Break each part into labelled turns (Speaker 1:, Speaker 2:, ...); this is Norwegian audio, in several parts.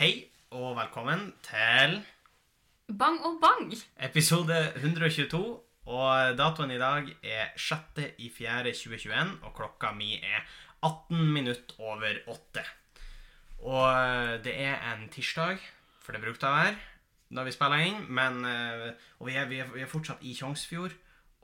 Speaker 1: Hei og velkommen til
Speaker 2: Bang og bang!
Speaker 1: episode 122. Og datoen i dag er 6.4.2021, og klokka mi er 18 minutt over 8. Og eh, det er en tirsdag, for det brukte å være når vi spiller inn, men eh, Og vi er, vi er, vi er fortsatt i Tjongsfjord,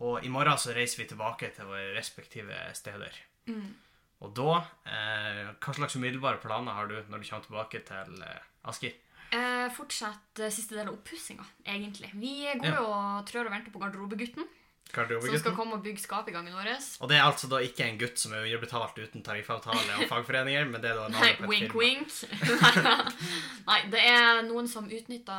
Speaker 1: og i morgen så reiser vi tilbake til våre respektive steder. Og da eh, Hva slags umiddelbare planer har du når du kommer tilbake til eh, Asker?
Speaker 2: Eh, fortsatt eh, siste del av oppussinga, egentlig. Vi går
Speaker 1: Ja.
Speaker 2: og trør og venter på garderobegutten, som
Speaker 1: Garderobegutten?
Speaker 2: skal komme og bygge skapet i gangen vår.
Speaker 1: Og det er altså da ikke en gutt som er underbetalt uten tariffavtale og fagforeninger, men det er da
Speaker 2: Nei,
Speaker 1: navnet på et
Speaker 2: wink,
Speaker 1: firma.
Speaker 2: wink. Nei, det er noen som utnytta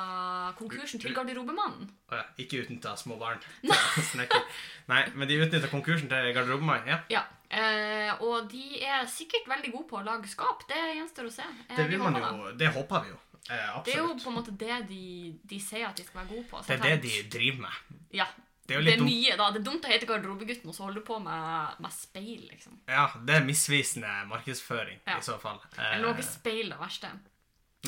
Speaker 2: konkursen til garderobemannen.
Speaker 1: Å ja, Ikke utnytta små barn. Snekker. Nei, men de utnytta konkursen til garderobemann. Ja.
Speaker 2: Ja. Eh, og de er sikkert veldig gode på å lage skap. Det gjenstår å se. Eh,
Speaker 1: Det
Speaker 2: vi
Speaker 1: vil man
Speaker 2: håper det.
Speaker 1: jo Det håper vi jo. Eh,
Speaker 2: Det er jo
Speaker 1: absolutt.
Speaker 2: på en måte det de, de sier at de skal være gode på.
Speaker 1: Det er
Speaker 2: sant?
Speaker 1: det de driver med.
Speaker 2: Ja.
Speaker 1: Det er jo
Speaker 2: Det
Speaker 1: litt
Speaker 2: er
Speaker 1: dumt.
Speaker 2: mye, da. Det er dumt å hete garderobegutten og så holde på med, med speil, liksom.
Speaker 1: Ja, det er misvisende markedsføring
Speaker 2: Ja.
Speaker 1: i så fall.
Speaker 2: Eller noe
Speaker 1: Eh,
Speaker 2: speil, det verste.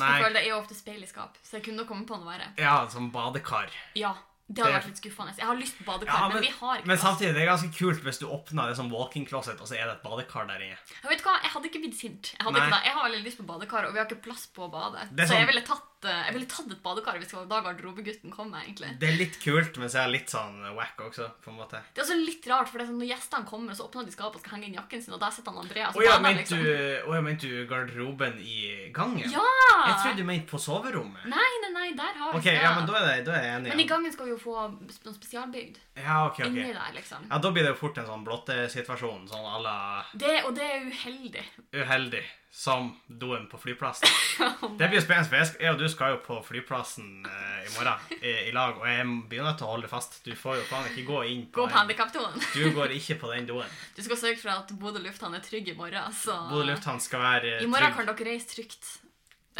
Speaker 2: Jeg
Speaker 1: nei.
Speaker 2: føler det er jo ofte speil i skap, så jeg kunne komme på noe verre.
Speaker 1: Ja, som badekar.
Speaker 2: Ja, det hadde
Speaker 1: Det-
Speaker 2: vært litt skuffende. Jeg har lyst på badekar,
Speaker 1: Ja,
Speaker 2: men, vi har ikke
Speaker 1: men
Speaker 2: plass.
Speaker 1: samtidig, det er ganske kult hvis du åpner det som walk-in closet, og så er det et badekar der inne.
Speaker 2: Jeg vet hva, jeg hadde ikke blitt sint. Jeg, hadde
Speaker 1: Nei.
Speaker 2: ikke det. jeg har veldig lyst på badekar, og vi har ikke plass på badet.
Speaker 1: Det er
Speaker 2: Så
Speaker 1: sånn-
Speaker 2: jeg ville tatt, eh, jeg ville tatt et badekar hvis det var da garderobegutten kom, egentlig.
Speaker 1: Det er litt kult, men så er det litt sånn wack også, på en måte.
Speaker 2: Det er også litt rart, for det er sånn, når gjestene kommer, så åpner de skapet og skal henge inn jakken sin, og der sitter han Andreas.
Speaker 1: Å ja,
Speaker 2: bader,
Speaker 1: mente du, åja, mente du garderoben i gangen?
Speaker 2: liksom. Ja!
Speaker 1: Jeg trodde du mente på soverommet.
Speaker 2: Nei, nei, nei, der har vi
Speaker 1: Ok, ja, men da er, det, da er jeg enig.
Speaker 2: Men i
Speaker 1: igjen.
Speaker 2: gangen skal vi jo få noe spesialbygd
Speaker 1: Ja, ok,
Speaker 2: inni
Speaker 1: ok.
Speaker 2: der, liksom.
Speaker 1: Ja, da blir det jo fort en sånn blottesituasjon, sånn à la
Speaker 2: Det, og det er uheldig.
Speaker 1: uheldig, som doen på flyplassen. Det blir spennende, for jeg sk- jeg og du skal jo på flyplassen eh, i morgen i, i lag, og jeg begynner til å holde fast. Du får jo faen ikke gå inn
Speaker 2: Gå
Speaker 1: på
Speaker 2: på
Speaker 1: den.
Speaker 2: handikaptonen.
Speaker 1: Du går ikke på den doen.
Speaker 2: Du skal sørge for at Bodø lufthavn er trygg i morgen. Så
Speaker 1: Bodø lufthavn skal være eh,
Speaker 2: i morgen
Speaker 1: trygg.
Speaker 2: kan dere reise trygt.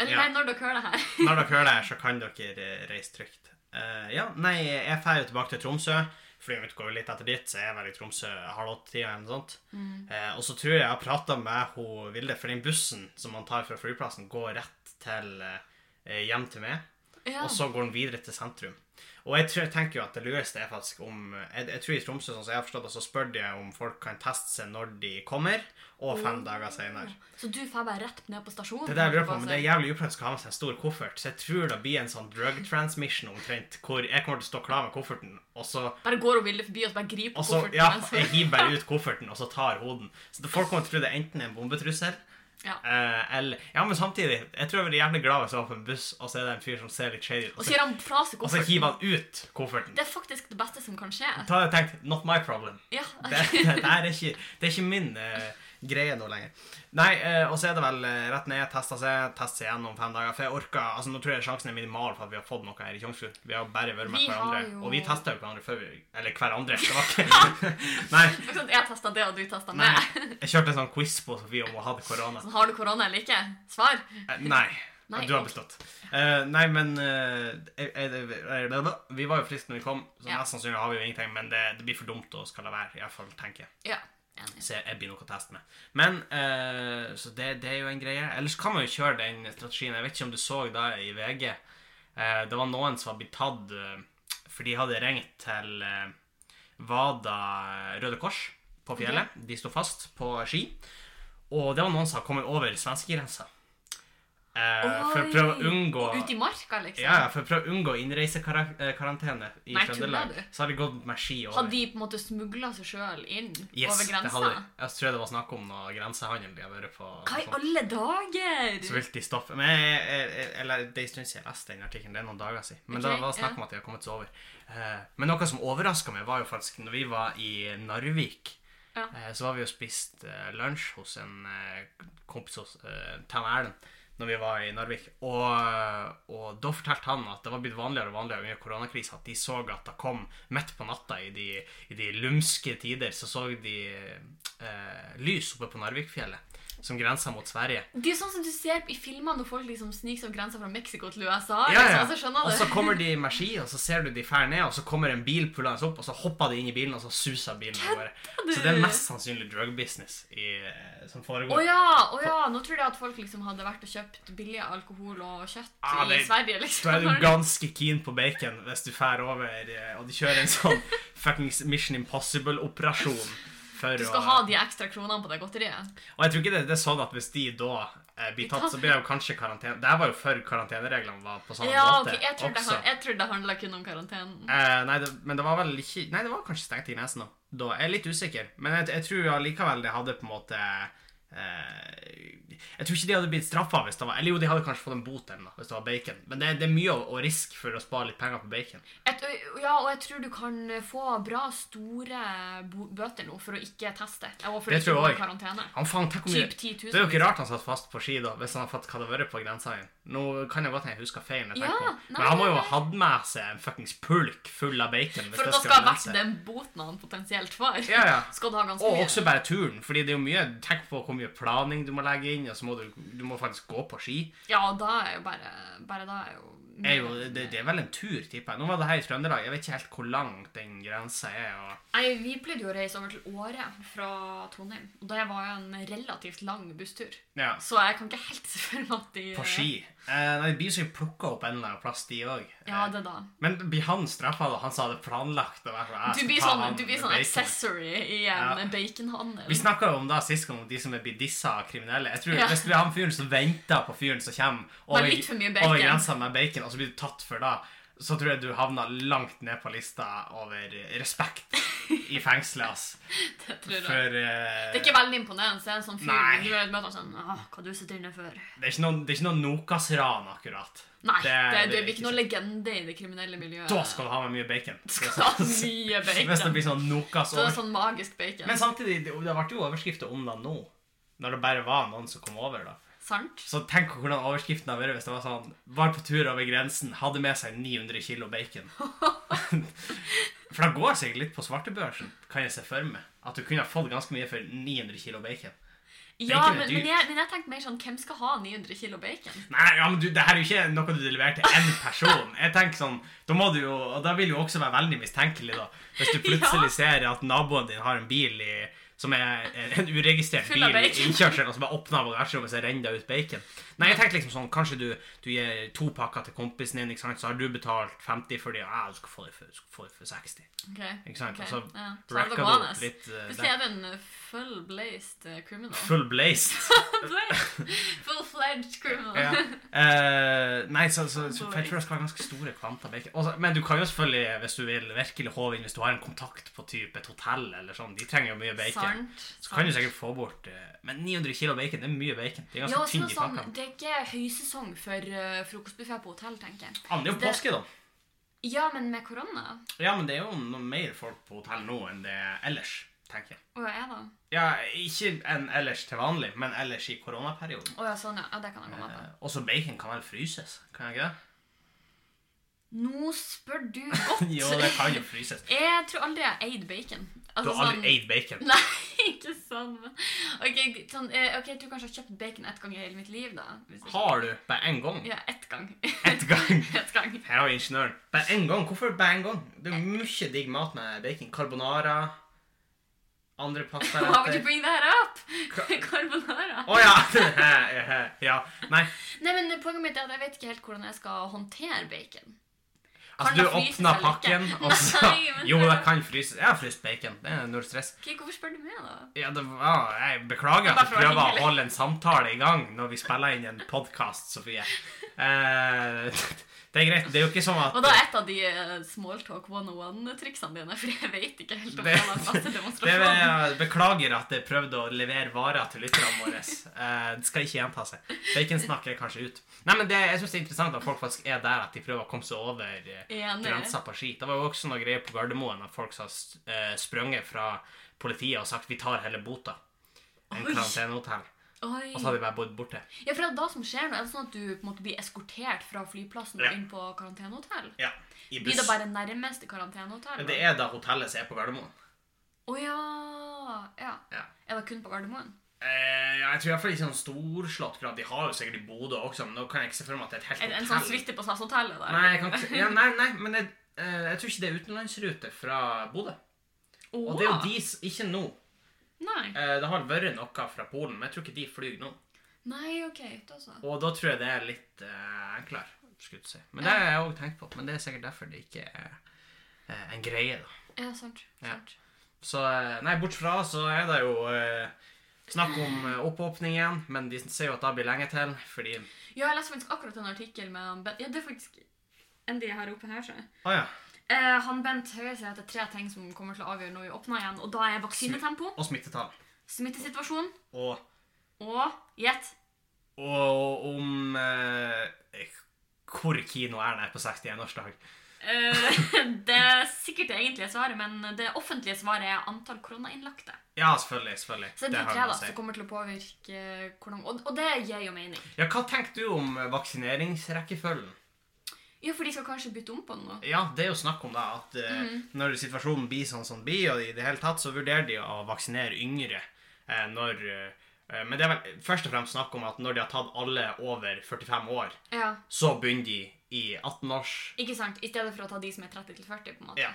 Speaker 2: Eller
Speaker 1: Ja.
Speaker 2: nei, når dere hører det her.
Speaker 1: Når dere hører det her, så kan dere eh, reise trygt. Eh, ja, nei, jeg drar jo tilbake til Tromsø. Flyet mitt går jo litt etter dit, så jeg er vel i Tromsø halv åtte-tida eller noe sånt. Eh, og så tror jeg jeg har prata med hun Vilde, for den bussen som man tar fra flyplassen, går rett til eh, hjem til meg,
Speaker 2: Ja.
Speaker 1: og så går den videre til sentrum. Og jeg, tror, jeg tenker jo at det lureste er faktisk om jeg, jeg tror i Tromsø, sånn som jeg har forstått det, så spør de om folk kan teste seg når de kommer, og fem dager seinere.
Speaker 2: Så du får bare rett ned på stasjonen?
Speaker 1: Det er det jeg lurer på, men det er jævlig upraktisk å ha med seg en stor koffert, så jeg tror det blir en sånn drug transmission omtrent, hvor jeg kommer til å stå klar med kofferten, og så,
Speaker 2: Bare går og Vilde forbi og så bare griper
Speaker 1: og så
Speaker 2: kofferten. altså.
Speaker 1: ja,
Speaker 2: mens-
Speaker 1: jeg hiver bare ut kofferten, og så tar hoden. Så folk kommer til å tro det enten er en bombetrussel,
Speaker 2: Ja.
Speaker 1: eh, eller, ja, men samtidig, jeg tror jeg blir jævlig glad hvis jeg var på en buss, og så er det en fyr som ser litt shady ut,
Speaker 2: Og
Speaker 1: og
Speaker 2: så gir
Speaker 1: så,
Speaker 2: han fra seg
Speaker 1: og så
Speaker 2: kofferten.
Speaker 1: hiver han ut kofferten.
Speaker 2: Det er faktisk det beste som kan skje.
Speaker 1: Da hadde jeg tenkt, not my problem.
Speaker 2: Ja.
Speaker 1: Det, det, det, er ikke, det er ikke min eh, greie nå lenger. Nei, eh, og så er det vel eh, rett ned, teste seg, teste seg igjen om fem dager. For jeg orker, altså Nå tror jeg sjansen er minimal for at vi har fått noe her i Tjongsfjord. Vi har bare vært med
Speaker 2: Vi har
Speaker 1: hverandre.
Speaker 2: jo-
Speaker 1: Og vi testa jo hverandre før vi Eller hverandre. Det var ikke Nei.
Speaker 2: Det er ikke sånn at Jeg testa det, og du testa
Speaker 1: nei.
Speaker 2: meg.
Speaker 1: Jeg kjørte en sånn quiz på Sofie om hun hadde korona.
Speaker 2: Sånn, har du korona eller ikke? Svar.
Speaker 1: Eh, Nei.
Speaker 2: Nei,
Speaker 1: Du har
Speaker 2: ok.
Speaker 1: bestått. Eh, nei, men eh, jeg- jeg- jeg- jeg- Vi var jo friske når vi kom, så
Speaker 2: Ja.
Speaker 1: mest sannsynlig har vi jo ingenting. Men det, det blir for dumt å skal la være. i hvert fall, tenker jeg.
Speaker 2: Ja. Enig.
Speaker 1: Så jeg, jeg blir nok å teste med. Men eh, Så det, det er jo en greie. Ellers kan man jo kjøre den strategien. Jeg vet ikke om du så da i VG. eh, det var noen som hadde blitt tatt eh, for de hadde ringt til eh, Vada Røde Kors på fjellet. De sto fast på ski. Og det var noen som hadde kommet over svenskegrensa. Uh, for å
Speaker 2: Oi.
Speaker 1: prøve å unngå
Speaker 2: Og Ut i marka, liksom.
Speaker 1: ja, ja, for å prøve å unngå innreisekarantene i
Speaker 2: Nei,
Speaker 1: Trøndelag.
Speaker 2: tuller du?
Speaker 1: Så har de gått med ski over.
Speaker 2: Hadde de på en måte smugla seg sjøl inn
Speaker 1: Yes,
Speaker 2: over
Speaker 1: det hadde
Speaker 2: grensa?
Speaker 1: de. Jeg tror det var snakk om noe grensehandel de har vært på.
Speaker 2: Hva i
Speaker 1: Sånn.
Speaker 2: alle dager?
Speaker 1: Så vil de stoppe Men jeg, jeg, jeg, eller, det er en stund siden jeg leste den artikkelen. Det er noen dager siden. Men
Speaker 2: Ok,
Speaker 1: da var det snakk
Speaker 2: ja.
Speaker 1: om at de har kommet seg over. Eh, men noe som overraska meg, var jo faktisk når vi var i Narvik.
Speaker 2: Ja.
Speaker 1: eh, så var vi og spist eh, lunsj hos en eh, kompis hos uh, Tam Erlend når vi var i Narvik. Og, og da fortalte han at det var blitt vanligere og vanligere under koronakrisa at de så at det kom midt på natta i de, i de lumske tider, så så de eh, lys oppe på Narvikfjellet. som grenser mot Sverige.
Speaker 2: Det er jo sånn som du ser i filmer når folk liksom sniker seg over grensa fra Mexico til USA.
Speaker 1: Ja, ja.
Speaker 2: Liksom, altså, skjønner
Speaker 1: Og
Speaker 2: du?
Speaker 1: så kommer de med ski, og så ser du de fer ned, og så kommer en bil pullende opp, og så hopper de inn i bilen, og så suser bilen av gårde.
Speaker 2: du?
Speaker 1: Så det er mest sannsynlig drug business i, eh, som
Speaker 2: Å
Speaker 1: foregår.
Speaker 2: ja, å ja. Nå trodde jeg at folk liksom hadde vært og kjøpt billig alkohol og kjøtt
Speaker 1: Ah,
Speaker 2: i
Speaker 1: det-
Speaker 2: Sverige.
Speaker 1: Da er
Speaker 2: liksom.
Speaker 1: du ganske keen på bacon hvis du fer over eh, og de kjører en sånn fuckings Mission Impossible-operasjon. for
Speaker 2: Du
Speaker 1: å-
Speaker 2: skal ha de ekstra kronene på det godteriet.
Speaker 1: Og jeg tror ikke det, det er sånn at hvis de da eh, blir tatt, så blir de kanskje karantene. Det her var jo før karantenereglene var på samme
Speaker 2: Ja, ok,
Speaker 1: måte.
Speaker 2: Jeg trodde det,
Speaker 1: også.
Speaker 2: han- jeg trodde det handla kun om karantenen.
Speaker 1: Eh, nei, det, men det var vel ikke Nei, det var kanskje stengt i nesen da. da jeg er litt usikker. Men jeg, jeg tror allikevel det hadde på en måte eh, Jeg tror ikke de hadde blitt straffa hvis det var Eller jo, de hadde kanskje fått en bot eller noe hvis det var bacon. Men det, det er mye å, å riske for å spare litt penger på bacon.
Speaker 2: Et, ja, Og jeg tror du kan få bra store bo- bøter nå for å ikke teste. Og for å
Speaker 1: Det
Speaker 2: ikke
Speaker 1: tror
Speaker 2: gå i
Speaker 1: jeg
Speaker 2: karantene.
Speaker 1: Han faen, tenk om
Speaker 2: Typ liksom.
Speaker 1: det-
Speaker 2: 10 000.
Speaker 1: Det er jo ikke rart han satt fast på ski da, hvis han hadde fått hva det hadde vært på grensa igjen. Nå kan jeg godt hende jeg husker feil, jeg tenker
Speaker 2: Ja,
Speaker 1: på.
Speaker 2: nei,
Speaker 1: men han må jo
Speaker 2: nei,
Speaker 1: ha hatt med seg en fuckings pulk full av bacon. hvis
Speaker 2: For
Speaker 1: det
Speaker 2: da skal ha
Speaker 1: lønne
Speaker 2: vært
Speaker 1: seg.
Speaker 2: den boten han potensielt får.
Speaker 1: Ja, ja.
Speaker 2: Skal du ha ganske
Speaker 1: Og
Speaker 2: mye?
Speaker 1: også bare turen, fordi det er jo mye Tenk på hvor mye planing du må legge inn, og så må du, du må faktisk gå på ski.
Speaker 2: Ja, og da er jo bare Bare da er jo
Speaker 1: Er jo, det, det er vel en tur, tipper jeg. Nå var det her i Trøndelag, jeg vet ikke helt hvor langt den grensa er. Og...
Speaker 2: Nei, vi pleide jo å reise over til Åre fra Trondheim. Og det var jo en relativt lang busstur.
Speaker 1: Ja,
Speaker 2: Så jeg kan ikke helt se for meg at de
Speaker 1: på ski. Eh, nei, de blir jo sikkert plukka opp en eller annen plass, de òg.
Speaker 2: Ja, det da.
Speaker 1: Men blir han straffa da han sa det planlagt? Og
Speaker 2: Du blir sånn, du blir sånn accessory i en
Speaker 1: Ja.
Speaker 2: baconhandel.
Speaker 1: Vi snakka jo om da sist gang om de som er blitt dissa av kriminelle. Jeg tror
Speaker 2: Ja.
Speaker 1: Hvis du er han fyren som venter på fyren som kommer
Speaker 2: Med litt for mye bacon.
Speaker 1: over grensa med bacon, og så blir du tatt for det, så tror jeg du havner langt ned på lista over respekt i fengselet, ass.
Speaker 2: det, tror jeg.
Speaker 1: For eh,
Speaker 2: det er ikke veldig imponerende. Det er en sånn fyr
Speaker 1: Nei.
Speaker 2: du møter han sånn Åh, hva du sitter inne for?
Speaker 1: det er ikke noe, det er ikke noe Nokas-ran, akkurat.
Speaker 2: Nei, det, det,
Speaker 1: det er
Speaker 2: blir ikke noe
Speaker 1: sånn.
Speaker 2: legende i det kriminelle miljøet.
Speaker 1: Da skal du ha med mye bacon.
Speaker 2: Skal du ha mye
Speaker 1: Hvis det
Speaker 2: bacon.
Speaker 1: blir sånn Nokas
Speaker 2: Så det er
Speaker 1: over...
Speaker 2: sånn magisk bacon.
Speaker 1: Men samtidig, det det ble jo overskrifter om det nå. Når det bare var noen som kom over, da.
Speaker 2: Sant?
Speaker 1: Så tenk hvordan overskriften hadde vært hvis det var sånn Var på tur over grensen, hadde med seg 900 kilo bacon. for da går sikkert litt på svartebørsen, kan jeg se for meg. At du kunne ha fått ganske mye for 900 kilo bacon.
Speaker 2: Ja,
Speaker 1: Bacon er
Speaker 2: men,
Speaker 1: dyrt.
Speaker 2: men, jeg, men jeg tenkte mer sånn Hvem skal ha 900 kilo bacon?
Speaker 1: Nei, ja, men du, det her er jo ikke noe du leverer til én person. Jeg tenker sånn, Da må du jo, og da vil jo også være veldig mistenkelig, da. Hvis du plutselig
Speaker 2: Ja.
Speaker 1: ser at naboen din har en bil i som er en uregistrert
Speaker 2: Full av
Speaker 1: bil i
Speaker 2: bacon.
Speaker 1: innkjørselen, og så bare åpner bagasjerommet, så renner det ut bacon. Nei, jeg tenkte liksom sånn, kanskje du, du gir to pakker til kompisen din, ikke sant, så har du betalt 50 for de, og jeg skal få det for, skal få det for 60.
Speaker 2: Ok,
Speaker 1: Ikke sant?
Speaker 2: ok,
Speaker 1: Og så
Speaker 2: ja. Så er det
Speaker 1: racker Altså, du
Speaker 2: gå an,
Speaker 1: opp
Speaker 2: ass.
Speaker 1: litt eh,
Speaker 2: Plutselig
Speaker 1: der.
Speaker 2: er du en eh, full blazed eh, criminal.
Speaker 1: Full blazed.
Speaker 2: full fledged criminal.
Speaker 1: Ja. Eh, nei, så, så, så for jeg tror det skal være ganske store kvanter bacon. Også, men du kan jo selvfølgelig, hvis du vil virkelig håve inn, hvis du har en kontakt på type et hotell eller sånn, de trenger jo mye bacon.
Speaker 2: Sant.
Speaker 1: Så kan du
Speaker 2: sant.
Speaker 1: sikkert få bort eh, Men 900 kilo bacon, det er mye bacon. Det er
Speaker 2: ja,
Speaker 1: ganske
Speaker 2: og så
Speaker 1: tynn
Speaker 2: er det
Speaker 1: i
Speaker 2: sånn,
Speaker 1: pakkene.
Speaker 2: det er ikke høysesong for uh, frokostbuffé på hotell, tenker jeg.
Speaker 1: Ja, men det er jo
Speaker 2: det-
Speaker 1: påske, da.
Speaker 2: Ja, men med korona?
Speaker 1: Ja, men det er jo noe mer folk på hotell nå enn det er ellers, tenker jeg.
Speaker 2: Å ja, er det?
Speaker 1: Ja, ikke enn ellers til vanlig, men ellers i koronaperioden.
Speaker 2: Å ja, sånn, ja. ja. Det kan jeg gå med på.
Speaker 1: Eh, også bacon kan vel fryses, kan jeg ikke det?
Speaker 2: Nå spør du godt!
Speaker 1: Jo, det kan jo fryses.
Speaker 2: Jeg tror aldri jeg har eid bacon.
Speaker 1: Du
Speaker 2: Altså,
Speaker 1: har aldri
Speaker 2: sånn-
Speaker 1: eid bacon.
Speaker 2: Nei, ikke sånn. men- Ok, sånn, eh, ok, jeg tror kanskje jeg har kjøpt bacon ett gang i hele mitt liv, da. Hvis ikke-
Speaker 1: Har du bare én gang?
Speaker 2: Ja, ett gang.
Speaker 1: Ett gang?
Speaker 2: ett gang.
Speaker 1: Her har vi ingeniøren. Bare én gang. Hvorfor bare én gang? Det er jo mye digg mat med bacon. Carbonara. Andre
Speaker 2: Why would you
Speaker 1: pastaretter.
Speaker 2: bring that up?
Speaker 1: Ka-
Speaker 2: Carbonara.
Speaker 1: Å ja. ja! Nei,
Speaker 2: Nei, men Poenget mitt er at jeg vet ikke helt hvordan jeg skal håndtere bacon.
Speaker 1: altså
Speaker 2: Kan
Speaker 1: du
Speaker 2: det fryses
Speaker 1: åpner
Speaker 2: eller ikke?
Speaker 1: pakken, og så
Speaker 2: Nei, men-
Speaker 1: Jo, det kan fryses. Jeg har fryst bacon. Det er null stress.
Speaker 2: Ok, hvorfor spør du meg, da?
Speaker 1: Ja, det var, ah, jeg beklager
Speaker 2: Bare
Speaker 1: at du
Speaker 2: for å være
Speaker 1: prøver å
Speaker 2: hyggelig.
Speaker 1: holde en samtale i gang når vi spiller inn en podkast, Sofie. Eh, det er greit. Det er jo ikke sånn at
Speaker 2: Og da er et av de eh, smalltalk 101-triksene dine, for jeg vet ikke helt om
Speaker 1: Det-
Speaker 2: jeg har plass til
Speaker 1: Det vil
Speaker 2: demonstrasjon.
Speaker 1: jeg beklager at jeg prøvde å levere varer til lytterne våre. Eh, Det skal ikke gjenta seg. Baconsnakk er kanskje ut. Nei, men det, Jeg syns det er interessant at folk faktisk er der at de prøver å komme seg over eh,
Speaker 2: Enig.
Speaker 1: grensa på ski. Det var jo også noe greier på Gardermoen at folk har eh, sprunget fra politiet og sagt 'vi tar hele bota'. En
Speaker 2: Oi.
Speaker 1: karantenehotell.
Speaker 2: Oi.
Speaker 1: Og så har de bare bodd borte.
Speaker 2: Ja, for det er da som skjer nå, er det sånn at du på en måte blir eskortert fra flyplassen
Speaker 1: Ja.
Speaker 2: og inn på karantenehotell?
Speaker 1: Ja, i
Speaker 2: Blir
Speaker 1: buss.
Speaker 2: det bare nærmeste karantenehotell?
Speaker 1: Men Det er da hotellet som er på Gardermoen.
Speaker 2: Å ja. ja.
Speaker 1: Ja.
Speaker 2: Er det kun på Gardermoen?
Speaker 1: Eh, ja, jeg tror iallfall ikke sånn storslått grad. De har jo sikkert i Bodø også, men nå kan jeg ikke se for meg at det er et helt
Speaker 2: En, en
Speaker 1: hotell.
Speaker 2: sånn suite på SAS-hotellet der.
Speaker 1: Nei, jeg kan ikke, ja, nei, nei, men jeg, eh, jeg tror ikke det er utenlandsrute fra Bodø. Og det er jo de s- Ikke nå.
Speaker 2: Nei.
Speaker 1: Eh, det har vært noe fra Polen, men jeg tror ikke de flyr nå.
Speaker 2: Nei, OK. Da så.
Speaker 1: Og da tror jeg det er litt eh, enklere. skulle jeg si. Men det har jeg òg tenkt på. Men det er sikkert derfor det ikke er eh, en greie, da.
Speaker 2: Ja, sant.
Speaker 1: Ja.
Speaker 2: sant.
Speaker 1: Så eh, Nei, bort fra så er det jo eh, snakk om eh, oppåpning igjen, men de sier jo at det blir lenge til, fordi
Speaker 2: Ja. jeg leste faktisk akkurat en artikkel med han Bent Ja, det er faktisk en de her oppe her, så.
Speaker 1: Å ja.
Speaker 2: Eh, han Bent Høie sier at det er tre ting som kommer til å avgjøre når vi åpner igjen, og da er vaksinetempo,
Speaker 1: Og smittetall.
Speaker 2: smittesituasjon
Speaker 1: Og,
Speaker 2: og gjett.
Speaker 1: og om eh, hvor kino er det på 61-årsdag.
Speaker 2: Eh, det er sikkert det egentlige svaret, men det offentlige svaret er antall koronainnlagte.
Speaker 1: Ja, selvfølgelig. selvfølgelig.
Speaker 2: Så det er de tre
Speaker 1: noe
Speaker 2: da,
Speaker 1: å si.
Speaker 2: som kommer til å påvirke eh, hvordan Og, og det gir jo mening.
Speaker 1: Ja, Hva tenker du om eh, vaksineringsrekkefølgen?
Speaker 2: Ja, for de skal kanskje bytte om på noe.
Speaker 1: Ja, det er jo snakk om da, at eh,
Speaker 2: Mhm.
Speaker 1: når situasjonen blir sånn som den blir, og i det hele tatt, så vurderer de å vaksinere yngre eh, når eh, eh, Men det er vel først og fremst snakk om at når de har tatt alle over 45 år,
Speaker 2: Ja.
Speaker 1: så begynner de i 18-års...
Speaker 2: Ikke sant? I stedet for å ta de som er 30 til 40, på en måte.
Speaker 1: Ja.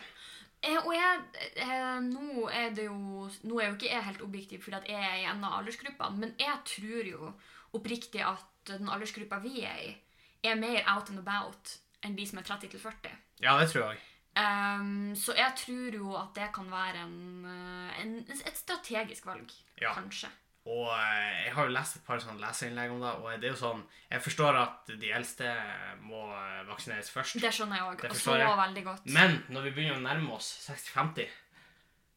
Speaker 2: Eh, og jeg, eh, nå er det jo Nå er jo ikke jeg helt objektiv, fordi at jeg er i en av aldersgruppene, men jeg tror jo oppriktig at den aldersgruppa vi er i, er mer out and about enn de som er 30 til 40.
Speaker 1: ja, det tror jeg.
Speaker 2: Ehm, så jeg tror jo at det kan være en, eh, en, et strategisk valg,
Speaker 1: Ja.
Speaker 2: kanskje.
Speaker 1: Og eh, jeg har jo lest et par sånne leserinnlegg om det, og det er jo sånn Jeg forstår at de eldste må eh, vaksineres først,
Speaker 2: Det skjønner jeg òg.
Speaker 1: Det
Speaker 2: Og så
Speaker 1: forstår jeg.
Speaker 2: veldig godt.
Speaker 1: men når vi begynner å nærme oss 60-50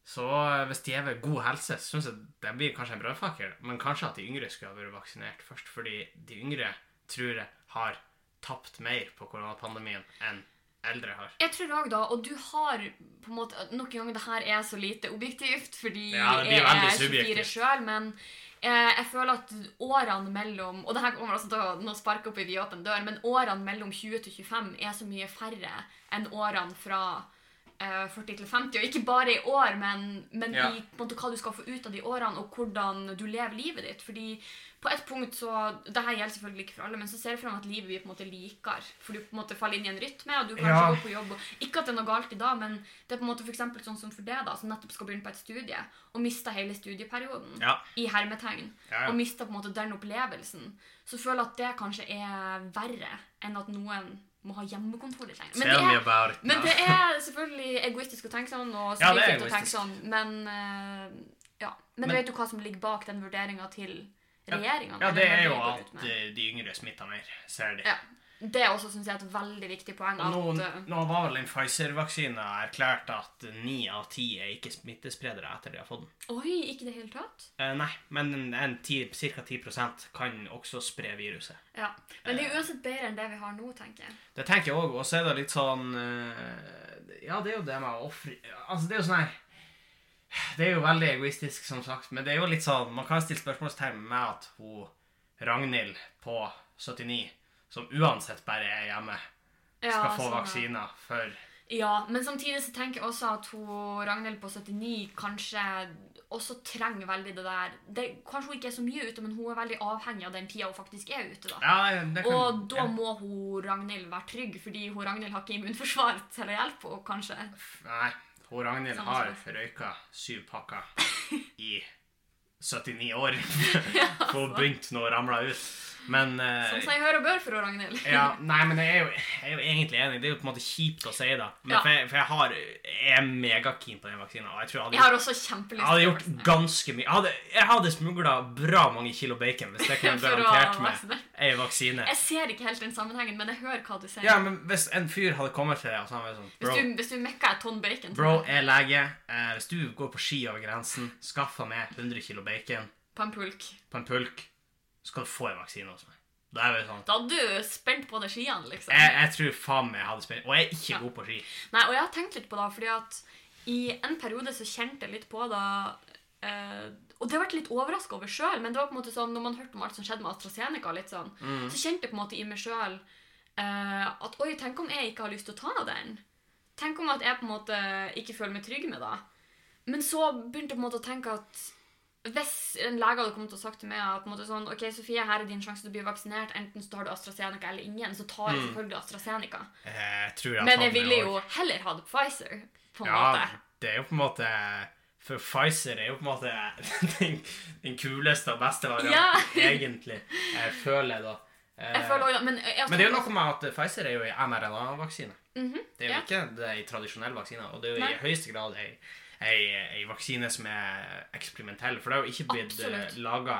Speaker 1: så eh, hvis de er ved god helse, så syns jeg det blir kanskje en brødfakkel. Men kanskje at de yngre skulle ha vært vaksinert først, fordi de yngre tror jeg har tapt mer på koronapandemien enn eldre har.
Speaker 2: Jeg tror òg da, og du har på en måte Nok en gang, det her er så lite objektivt, fordi
Speaker 1: Ja, det blir
Speaker 2: jeg
Speaker 1: veldig
Speaker 2: er 24
Speaker 1: subjektivt.
Speaker 2: sjøl, men eh, jeg føler at årene mellom Og det her kommer også til å nå sparke opp i vidåpen dør, men årene mellom 20 til 25 er så mye færre enn årene fra eh, 40 til 50. Og ikke bare i år, men, men
Speaker 1: Ja.
Speaker 2: i på en måte, hva du skal få ut av de årene, og hvordan du lever livet ditt. Fordi på et punkt så Det her gjelder selvfølgelig ikke for alle, men så ser jeg for meg at livet blir på en måte likere. For du på en måte faller inn i en rytme, og du kanskje
Speaker 1: Ja.
Speaker 2: går på jobb. Og ikke at det er noe galt i dag, men det er på en måte for eksempel sånn som for deg, da, som nettopp skal begynne på et studie, og mista hele studieperioden
Speaker 1: Ja.
Speaker 2: i hermetegn,
Speaker 1: Ja, ja.
Speaker 2: og mista på en måte den opplevelsen, så føler jeg at det kanskje er verre enn at noen må ha hjemmekontor litt lenger. Men
Speaker 1: Tell me
Speaker 2: det, er,
Speaker 1: about it
Speaker 2: men
Speaker 1: now.
Speaker 2: det er selvfølgelig egoistisk å tenke sånn, og
Speaker 1: Ja, det er
Speaker 2: subjektivt å tenke
Speaker 1: egoistisk.
Speaker 2: sånn, men eh, ja. Men,
Speaker 1: Men-
Speaker 2: vet du hva som ligger bak den vurderinga til
Speaker 1: Ja.
Speaker 2: regjeringa?
Speaker 1: Ja, det er jo
Speaker 2: alt.
Speaker 1: at eh, de yngre smitter mer, ser de.
Speaker 2: Ja. Det er også, synes jeg, et veldig viktig poeng. At,
Speaker 1: Nå,
Speaker 2: eh,
Speaker 1: nå var vel den Pfizer-vaksina erklært at ni av ti er ikke smittespredere etter de har fått den.
Speaker 2: oi, ikke i det hele tatt?
Speaker 1: Eh, nei, men en- en ti- cirka 10 kan også spre viruset.
Speaker 2: Ja.
Speaker 1: Eh.
Speaker 2: Men det er jo uansett bedre enn det vi har nå, tenker jeg.
Speaker 1: Det tenker jeg òg, og så er det litt sånn eh, Ja, det er jo det med å ofre Altså, det er jo sånn her Det er jo veldig egoistisk, som sagt, men det er jo litt sånn Man kan stille spørsmålstegn med at hun Ragnhild på 79, som uansett bare er hjemme, skal
Speaker 2: Ja,
Speaker 1: få
Speaker 2: sånn, ja.
Speaker 1: vaksiner for
Speaker 2: Ja, men samtidig så tenker jeg også at hun, Ragnhild på 79 kanskje også trenger veldig det der det, Kanskje hun ikke er så mye ute, men hun er veldig avhengig av den tida hun faktisk er ute. da.
Speaker 1: Ja, det kan
Speaker 2: Og da
Speaker 1: ja.
Speaker 2: må hun Ragnhild være trygg, fordi hun Ragnhild har ikke immunforsvar til å hjelpe henne, kanskje.
Speaker 1: Nei, hun Ragnhild
Speaker 2: Samme
Speaker 1: har røyka syv pakker i 79 år. For hun begynte når hun ramla ut. Men eh,
Speaker 2: Altså. Sånn Som seg hør og bør for hun Ragnhild.
Speaker 1: ja, Nei, men jeg er, jo, jeg er jo egentlig enig. Det er jo på en måte kjipt å si, da. Men
Speaker 2: Ja.
Speaker 1: for, jeg, for jeg, har, jeg er megakeen på den vaksina. Og jeg tror
Speaker 2: Jeg
Speaker 1: jeg hadde,
Speaker 2: har også kjempelyst
Speaker 1: jeg hadde
Speaker 2: til å
Speaker 1: gjort ganske mye. Jeg hadde, jeg hadde smugla bra mange kilo bacon hvis jeg kunne
Speaker 2: For å
Speaker 1: garantert meg
Speaker 2: vaksinere.
Speaker 1: ei vaksine.
Speaker 2: Jeg ser ikke helt den sammenhengen, men jeg hører hva du sier.
Speaker 1: Ja, men hvis en fyr hadde kommet til deg og så hadde han vært sånn
Speaker 2: hvis,
Speaker 1: Bro,
Speaker 2: du, hvis du mekker et tonn bacon til
Speaker 1: Bro,
Speaker 2: meg
Speaker 1: jeg er lege. Eh, hvis du går på ski over grensen, skaffer meg 100 kilo bacon
Speaker 2: på en pulk,
Speaker 1: på en pulk, skal du få en vaksine hos meg. Da er vi sånn.
Speaker 2: da hadde du spent på deg skiene, liksom.
Speaker 1: Jeg, jeg tror faen meg jeg hadde spilt Og jeg er ikke god på ski.
Speaker 2: Nei, og jeg har tenkt litt på det, fordi at i en periode så kjente jeg litt på det eh, Og det har vært litt overraska over sjøl, men det var på en måte sånn, når man hørte om alt som skjedde med AstraZeneca, litt sånn, så kjente jeg på en måte i meg sjøl at oi, tenk om jeg ikke har lyst til å ta den? Tenk om at jeg på en måte ikke føler meg trygg med det? Men så begynte jeg på en måte å tenke at Hvis en lege hadde kommet og sagt til meg at på en måte sånn, ok, Sofie, her er din sjanse til å bli vaksinert, enten så tar du AstraZeneca eller ingen, så tar jeg selvfølgelig AstraZeneca.
Speaker 1: Jeg tror jeg
Speaker 2: Men
Speaker 1: tar
Speaker 2: jeg
Speaker 1: den
Speaker 2: ville
Speaker 1: også.
Speaker 2: jo heller hatt Pfizer, på en
Speaker 1: Ja,
Speaker 2: måte.
Speaker 1: det er jo på en måte For Pfizer er jo på en måte den, den kuleste og beste varianten, egentlig. Jeg føler jeg, da. Eh,
Speaker 2: Jeg føler også, da- men, jeg, jeg,
Speaker 1: men det er jo noe med at Pfizer er jo en mRNA-vaksine.
Speaker 2: Mhm,
Speaker 1: Det er jo
Speaker 2: ja.
Speaker 1: ikke det er en tradisjonell vaksine. Og det er jo
Speaker 2: Nei.
Speaker 1: i høyeste grad ei, ei, ei vaksine som er eksperimentell. For det har jo ikke blitt
Speaker 2: Absolutt.
Speaker 1: laga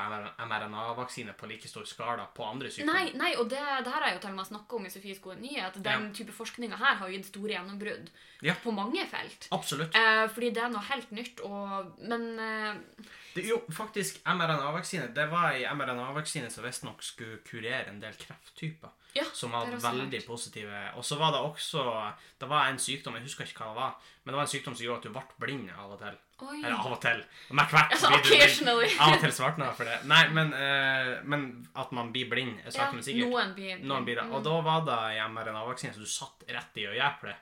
Speaker 1: mRNA-vaksine på like stor skala på andre sykdommer.
Speaker 2: Nei, nei, og det, det her er jo til og med snakket om i Sofies gode nyhet. Den type forskninga her har gitt store gjennombrudd
Speaker 1: Ja.
Speaker 2: på mange felt.
Speaker 1: Absolutt.
Speaker 2: Eh, fordi det er noe helt nytt, og Men eh,
Speaker 1: Det er jo faktisk mRNA-vaksine. Det var ei mRNA-vaksine som visstnok skulle kurere en del krefttyper.
Speaker 2: ja.
Speaker 1: som
Speaker 2: Det
Speaker 1: hadde
Speaker 2: er også
Speaker 1: veldig positive Og så var det også Det var en sykdom, jeg husker ikke hva det var, men det var en sykdom som gjorde at du ble blind av og til.
Speaker 2: Oi.
Speaker 1: Eller av og til. Men hvert
Speaker 2: Altså,
Speaker 1: blir du blind.
Speaker 2: occasionally.
Speaker 1: Av og til svartna jeg for det. Nei, men, eh, men at man blir blind, er
Speaker 2: Ja,
Speaker 1: sakte, men sikkert.
Speaker 2: noen blir Mm.
Speaker 1: Noen blir det. Og da var det i mRNA-vaksinen så du satt rett i øyeeplet.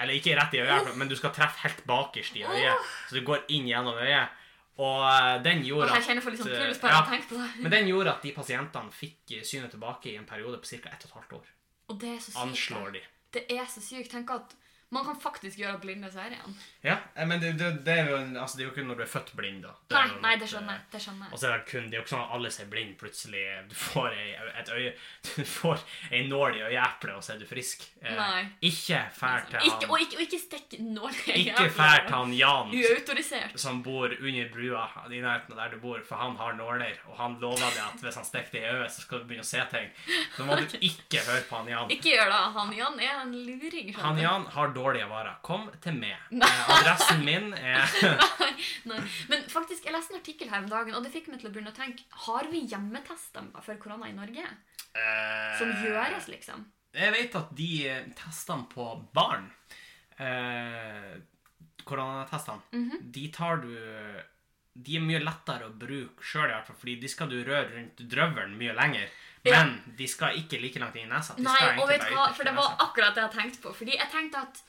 Speaker 1: Eller ikke rett i øyeeplet, men du skal treffe helt bakerst i øyet. Så du går inn gjennom øyet. Og eh, den
Speaker 2: Og
Speaker 1: gjorde
Speaker 2: her kjenner jeg for litt sånn
Speaker 1: eh,
Speaker 2: puls bare av å tenke på det.
Speaker 1: Men den gjorde at de pasientene fikk eh, synet tilbake i en periode på ca. 1 12 år.
Speaker 2: Og det er så sykt.
Speaker 1: Anslår de.
Speaker 2: Det er så sykt. Tenk at man kan faktisk gjøre at blinde ser igjen.
Speaker 1: Ja, eh, men det, det, det, er jo, en- altså, det er jo ikke når du er født blind, da. Det
Speaker 2: Nei,
Speaker 1: er jo
Speaker 2: nei,
Speaker 1: noe-
Speaker 2: det skjønner jeg. Det skjønner
Speaker 1: Og
Speaker 2: jeg.
Speaker 1: så er det kun, det er jo ikke sånn at alle ser blind plutselig. Du får ei, et øye, du får ei nål i øyeeplet, og så er du frisk. Eh,
Speaker 2: Nei.
Speaker 1: Ikke eh, fæl til
Speaker 2: Ikke, og
Speaker 1: han,
Speaker 2: ikke, og ikke stikk nål i
Speaker 1: ikke fæl til han Jan
Speaker 2: Uautorisert.
Speaker 1: som bor under brua i nærheten av der du bor, for han har nåler, og han lover deg at hvis han stikker det i øyet, så skal du begynne å se ting. Så må du ikke høre på han Jan.
Speaker 2: Ikke gjør det. Han Jan er en luring. skjønner
Speaker 1: Han
Speaker 2: du.
Speaker 1: Jan har dårlige varer. Kom til meg. Eh, adressen min er
Speaker 2: Nei. Men faktisk, jeg leste en artikkel her om dagen, og det fikk meg til å begynne å tenke Har vi hjemmetester for korona i Norge? Som
Speaker 1: Eh,
Speaker 2: gjøres, liksom?
Speaker 1: Jeg vet at de eh, testene på barn, eh, koronatestene,
Speaker 2: Mhm.
Speaker 1: de tar du De er mye lettere å bruke sjøl, i hvert fall, fordi de skal du røre rundt drøvelen mye lenger.
Speaker 2: Ja.
Speaker 1: Men de skal ikke like langt inn i nesa. De
Speaker 2: Nei,
Speaker 1: skal egentlig altså.
Speaker 2: og vet
Speaker 1: bare
Speaker 2: du hva,
Speaker 1: ytterst
Speaker 2: for det
Speaker 1: i
Speaker 2: var
Speaker 1: nesa.
Speaker 2: akkurat det jeg tenkte på. Fordi jeg tenkte at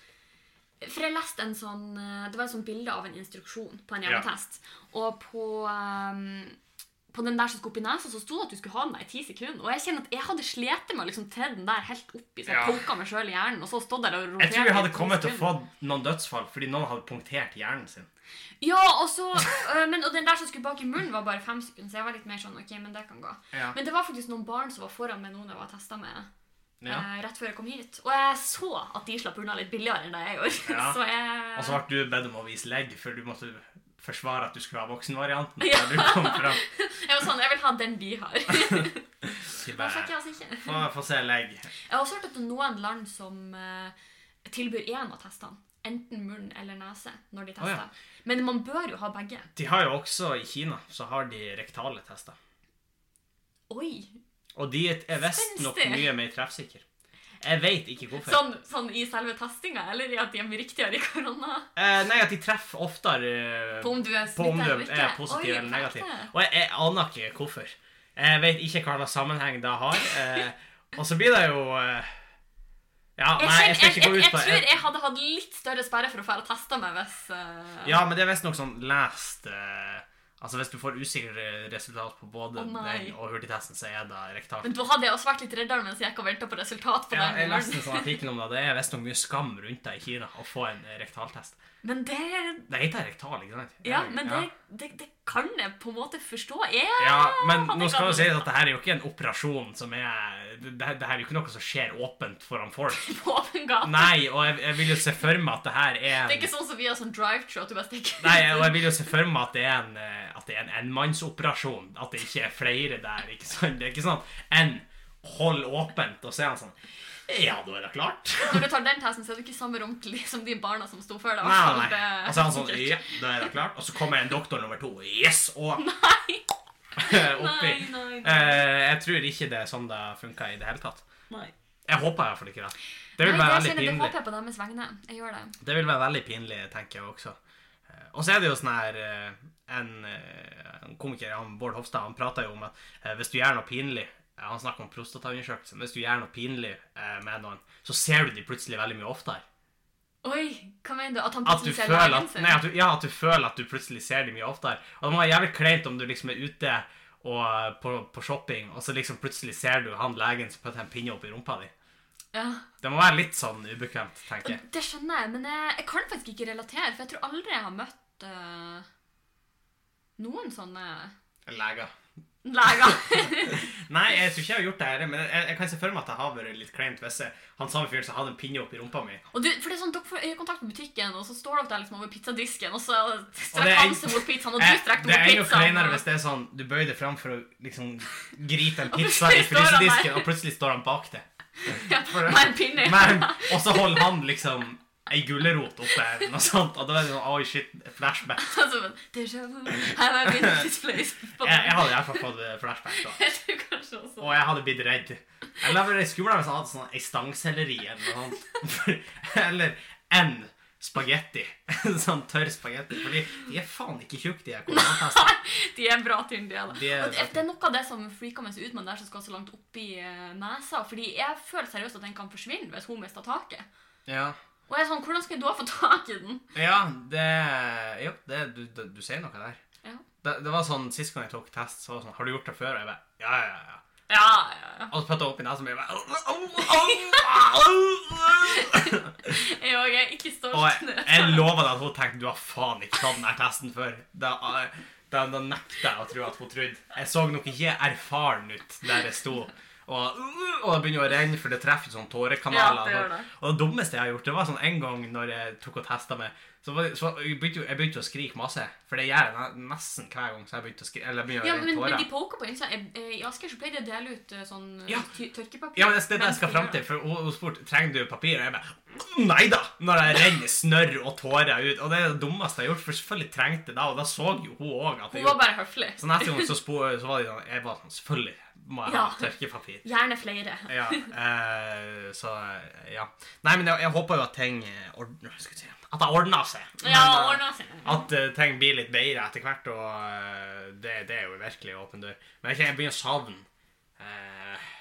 Speaker 2: For jeg leste en sånn eh, Det var en sånn bilde av en instruksjon på en
Speaker 1: Ja.
Speaker 2: hjemmetest. Og på ehm, på den der som skulle opp i nesa, så sto det at du skulle ha den der i ti sekunder. Og jeg kjenner at jeg hadde slitt med å liksom tre den der helt oppi, så
Speaker 1: Ja.
Speaker 2: jeg poka meg sjøl i hjernen. og så stod der og
Speaker 1: Jeg tror vi
Speaker 2: roterte i
Speaker 1: hadde
Speaker 2: ti
Speaker 1: kommet til å
Speaker 2: sekunder.
Speaker 1: få noen dødsfall fordi noen hadde punktert hjernen sin.
Speaker 2: Ja, og så øh, Men og den der som skulle bak i munnen, var bare fem sekunder, så jeg var litt mer sånn OK, men det kan gå.
Speaker 1: Ja.
Speaker 2: Men det var faktisk noen barn som var foran meg nå når jeg var testa med,
Speaker 1: Ja.
Speaker 2: eh, rett før jeg kom hit. Og jeg så at de slapp unna litt billigere enn det jeg gjorde.
Speaker 1: Ja.
Speaker 2: Så jeg
Speaker 1: Og så ble du bedt om å vise legg, for du måtte forsvare at du skulle ha voksenvarianten. Ja. Du kom fram.
Speaker 2: jeg var sånn Jeg vil ha den de har.
Speaker 1: De
Speaker 2: Men fikk
Speaker 1: bare,
Speaker 2: jeg altså ikke.
Speaker 1: få, få se legg.
Speaker 2: Jeg har også hørt at det er noen land som eh, tilbyr én av testene. Enten munn eller nese når de
Speaker 1: Å,
Speaker 2: tester.
Speaker 1: ja.
Speaker 2: Men man bør jo ha begge.
Speaker 1: De har jo også i Kina så har de rektale tester.
Speaker 2: Oi!
Speaker 1: Og de er visstnok
Speaker 2: Spenstig.
Speaker 1: mye mer treffsikre. Jeg veit ikke hvorfor.
Speaker 2: Sånn, sånn i selve testinga, eller i at de er riktigere i korona?
Speaker 1: Eh, nei, at de treffer oftere eh,
Speaker 2: På om du er
Speaker 1: på om
Speaker 2: smittet
Speaker 1: du
Speaker 2: eller ikke?
Speaker 1: er positiv
Speaker 2: Oi,
Speaker 1: eller negativ.
Speaker 2: perfekt.
Speaker 1: Og jeg, jeg aner ikke hvorfor. Jeg veit ikke hva slags sammenheng det har. Eh, og så blir det jo eh, Ja,
Speaker 2: Jeg,
Speaker 1: nei, jeg skal
Speaker 2: kjenner-
Speaker 1: ikke gå
Speaker 2: jeg, jeg,
Speaker 1: ut på
Speaker 2: jeg tror jeg hadde hatt litt større sperre for å fære og teste meg hvis eh,
Speaker 1: Ja, men det er visstnok sånn lest eh, Altså hvis du får usikre resultat på både
Speaker 2: Å, nei.
Speaker 1: den og hurtigtesten, så er det rektalt.
Speaker 2: Men da hadde jeg også vært litt reddere mens jeg gikk og venta på resultat. på
Speaker 1: Ja,
Speaker 2: den
Speaker 1: jeg
Speaker 2: morgenen.
Speaker 1: leste en sånn artikkel om det. Det er visstnok mye skam rundt deg i Kina å få en eh, rektaltest.
Speaker 2: Men det
Speaker 1: Det heter rektal, ikke sant?
Speaker 2: Ja, men
Speaker 1: ja.
Speaker 2: det, det, det kan jeg på en måte forstå. Jeg
Speaker 1: Ja, men
Speaker 2: hadde
Speaker 1: nå skal
Speaker 2: ikke
Speaker 1: det sies at det her er jo ikke en operasjon som er Det, det her er jo ikke noe som skjer åpent foran folk.
Speaker 2: hatt på åpen gate.
Speaker 1: Nei, og jeg, jeg vil jo se for meg at det her er en
Speaker 2: Det er ikke sånn som vi har sånn drive-thru at du bare stikker
Speaker 1: Nei, og jeg vil jo se for meg at det er en eh, At det er en enmannsoperasjon. At det ikke er flere der. ikke sant? Det er ikke sånn at en holder åpent, og så er han sånn Ja, da er det klart.
Speaker 2: Når du tar den testen, så er du ikke i samme rom til- som de barna som sto før deg.
Speaker 1: Nei, nei,
Speaker 2: Så
Speaker 1: nei.
Speaker 2: det-
Speaker 1: Og så er han sånn Ja, da er det klart. Og så kommer en doktor nummer to. Yes! Og
Speaker 2: Nei,
Speaker 1: oppi.
Speaker 2: nei, nei, nei.
Speaker 1: Eh, jeg tror ikke det er sånn det funka i det hele tatt.
Speaker 2: Nei,
Speaker 1: Jeg håper i hvert fall ikke det. Det
Speaker 2: det,
Speaker 1: vil være
Speaker 2: kjenner
Speaker 1: veldig
Speaker 2: jeg- det
Speaker 1: pinlig.
Speaker 2: håper jeg på deres vegne. Jeg gjør det.
Speaker 1: Det vil være veldig pinlig, tenker jeg også. Eh, Og så er det jo sånn her eh, En, eh, en komiker, han Bård Hofstad, han prater jo om at eh, hvis du gjør noe pinlig eh, Han snakker om prostataundersøkelse. men Hvis du gjør noe pinlig eh, med noen, så ser du de plutselig veldig mye oftere.
Speaker 2: Oi, hva mener du? At han
Speaker 1: At du,
Speaker 2: plutselig ser
Speaker 1: føler
Speaker 2: legen
Speaker 1: at,
Speaker 2: sin?
Speaker 1: nei, at, du, ja, at du føler at du plutselig ser dem mye oftere. Og det må være jævlig kleint om du liksom er ute og, eh, på, på shopping, og så liksom plutselig ser du han legen som putter en pinne opp i rumpa di.
Speaker 2: Ja.
Speaker 1: Det må være litt sånn ubekvemt, tenker jeg.
Speaker 2: Det skjønner jeg, men jeg, jeg kan faktisk ikke relatere, for jeg tror aldri jeg har møtt eh, noen sånne
Speaker 1: Leger.
Speaker 2: leger.
Speaker 1: Nei, jeg tror ikke jeg har gjort det her, men jeg, jeg kan se for meg at det har vært litt kleint hvis jeg, han samme fyren som hadde en pinne opp i rumpa mi.
Speaker 2: Og du, for det er sånn, Dere får øyekontakt på butikken, og så står dere der liksom over pizzadisken, og så
Speaker 1: Og det
Speaker 2: strekker
Speaker 1: er-
Speaker 2: han seg mot pizzaen, og du
Speaker 1: Eh,
Speaker 2: strekker
Speaker 1: det er
Speaker 2: deg
Speaker 1: enda
Speaker 2: mot
Speaker 1: kleinere
Speaker 2: pizzaen.
Speaker 1: hvis det er sånn du bøyer deg fram for å liksom gripe en
Speaker 2: Og
Speaker 1: pizza i
Speaker 2: plutselig står han der.
Speaker 1: frysedisken, og plutselig står han bak det.
Speaker 2: Ja, med en pinne.
Speaker 1: Men, og så holder han liksom ei gulrot oppe, eller noe sånt, og da er det sånn Oi, shit, flashback.
Speaker 2: Altså, men, déjà vu. Her har jeg begynt å displace på
Speaker 1: Jeg, jeg hadde i hvert fall fått eh, flashback da.
Speaker 2: Jeg tror kanskje også.
Speaker 1: Og jeg hadde blitt redd. Eller det hadde vært skummelt hvis jeg hadde sånn ei stangselleri eller noe sånt. Eller en spagetti. Sånn tørr spagetti. Fordi de er faen ikke tjukke, de her koronatestene.
Speaker 2: De er bra tynne, de er det.
Speaker 1: De er
Speaker 2: Og det,
Speaker 1: bra
Speaker 2: det er noe av det som freaker meg så ut med den der som skal så langt opp i eh, nesa. Fordi jeg føler seriøst at den kan forsvinne hvis hun mister taket.
Speaker 1: Ja.
Speaker 2: Og jeg er sånn, hvordan skal jeg da få tak i den?
Speaker 1: ja, det Jo, det, du, du, du sier noe der.
Speaker 2: Ja.
Speaker 1: Det, det var sånn, Sist gang jeg tok test, så var det sånn Har du gjort det før? Og jeg bare Ja, ja, ja.
Speaker 2: Ja, ja, ja.
Speaker 1: Og så putta jeg opp i nesa mi og jeg bare
Speaker 2: Jeg òg er ikke stolt.
Speaker 1: Og jeg,
Speaker 2: når jeg
Speaker 1: jeg
Speaker 2: tar-
Speaker 1: lover deg at hun tenkte du har faen ikke tatt denne testen før. Da, da, da nekter jeg å tro at hun trodde. Jeg så nok ikke erfaren ut der jeg sto. Og, og det begynner å renne, for det treffer sånn
Speaker 2: Ja,
Speaker 1: tårekanaler.
Speaker 2: det gjør det.
Speaker 1: Og det dummeste jeg har gjort, det var sånn en gang når jeg tok og testa meg, så, var det- så jeg, begynte, jo- jeg begynte å skrike masse. For det gjør jeg ne- nesten hver gang. Så jeg begynte å skrike, eller jeg begynner å
Speaker 2: Ja,
Speaker 1: renne
Speaker 2: men, men
Speaker 1: tårer.
Speaker 2: de poker på innsida. Jeg- eh, I Asker så pleier de å dele ut eh, sånn eh,
Speaker 1: Ja.
Speaker 2: ty- tørkepapir.
Speaker 1: Ja, men det er det jeg skal fram til, for hun, hun spurte trenger du papir, og jeg bare nei da! Når jeg renner snørr og tårer ut. Og det er det dummeste jeg har gjort, for selvfølgelig trengte jeg det, og da så jo hun òg at
Speaker 2: Hun
Speaker 1: jeg
Speaker 2: var
Speaker 1: gjorde
Speaker 2: bare høflig.
Speaker 1: Så neste gang så, spo, så var de sånn Jeg var sånn Selvfølgelig må jeg ha
Speaker 2: Ja.
Speaker 1: tørkepapir.
Speaker 2: Gjerne flere.
Speaker 1: Ja, eh, så ja. Nei, men jeg, jeg håper jo at ting eh, ordner skal vi si, At det ordner seg. Men,
Speaker 2: Ja,
Speaker 1: eh,
Speaker 2: ordna seg.
Speaker 1: at eh, ting blir litt bedre etter hvert, og eh, det, det er jo virkelig åpen dør. Men jeg kjenner jeg begynner å savne eh,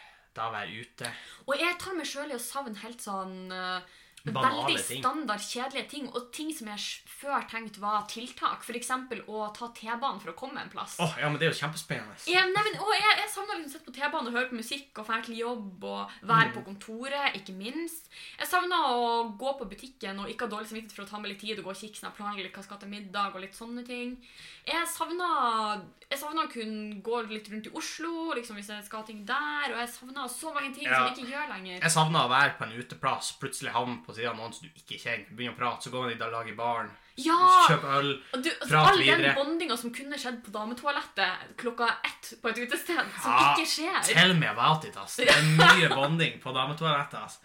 Speaker 1: da å være ute.
Speaker 2: Og jeg tar meg sjøl i å savne helt sånn eh,
Speaker 1: Banale
Speaker 2: Veldig
Speaker 1: ting.
Speaker 2: standard, kjedelige ting, og ting som jeg sj- før tenkte var tiltak. F.eks. å ta T-banen for å komme en plass.
Speaker 1: Åh, ja, men det er jo kjempespennende.
Speaker 2: Jeg, nei, men, og jeg, jeg savner liksom å sitte på T-banen og høre på musikk og dra til jobb og være
Speaker 1: Mm.
Speaker 2: på kontoret, ikke minst. Jeg savner å gå på butikken og ikke ha dårlig samvittighet for å ta med litt tid og gå og kikke sånn, jeg planlegger litt hva jeg skal til middag og litt sånne ting. Jeg savner, jeg savner å kunne gå litt rundt i Oslo liksom hvis jeg skal ha ting der, og jeg savner så mange ting som
Speaker 1: Ja.
Speaker 2: jeg ikke gjør lenger.
Speaker 1: Jeg savner å være på en uteplass, plutselig havne på siden av noen som du ikke kjenner. Begynner å prate, så går man i dag i baren,
Speaker 2: Ja!
Speaker 1: kjøper øl.
Speaker 2: Og du, altså,
Speaker 1: Prat
Speaker 2: all
Speaker 1: videre.
Speaker 2: den bondinga som kunne skjedd på dametoalettet klokka ett på et utested, som
Speaker 1: Ja,
Speaker 2: ikke skjer
Speaker 1: Tell me about it, ass. Det er mye bonding på dametoalettet, ass.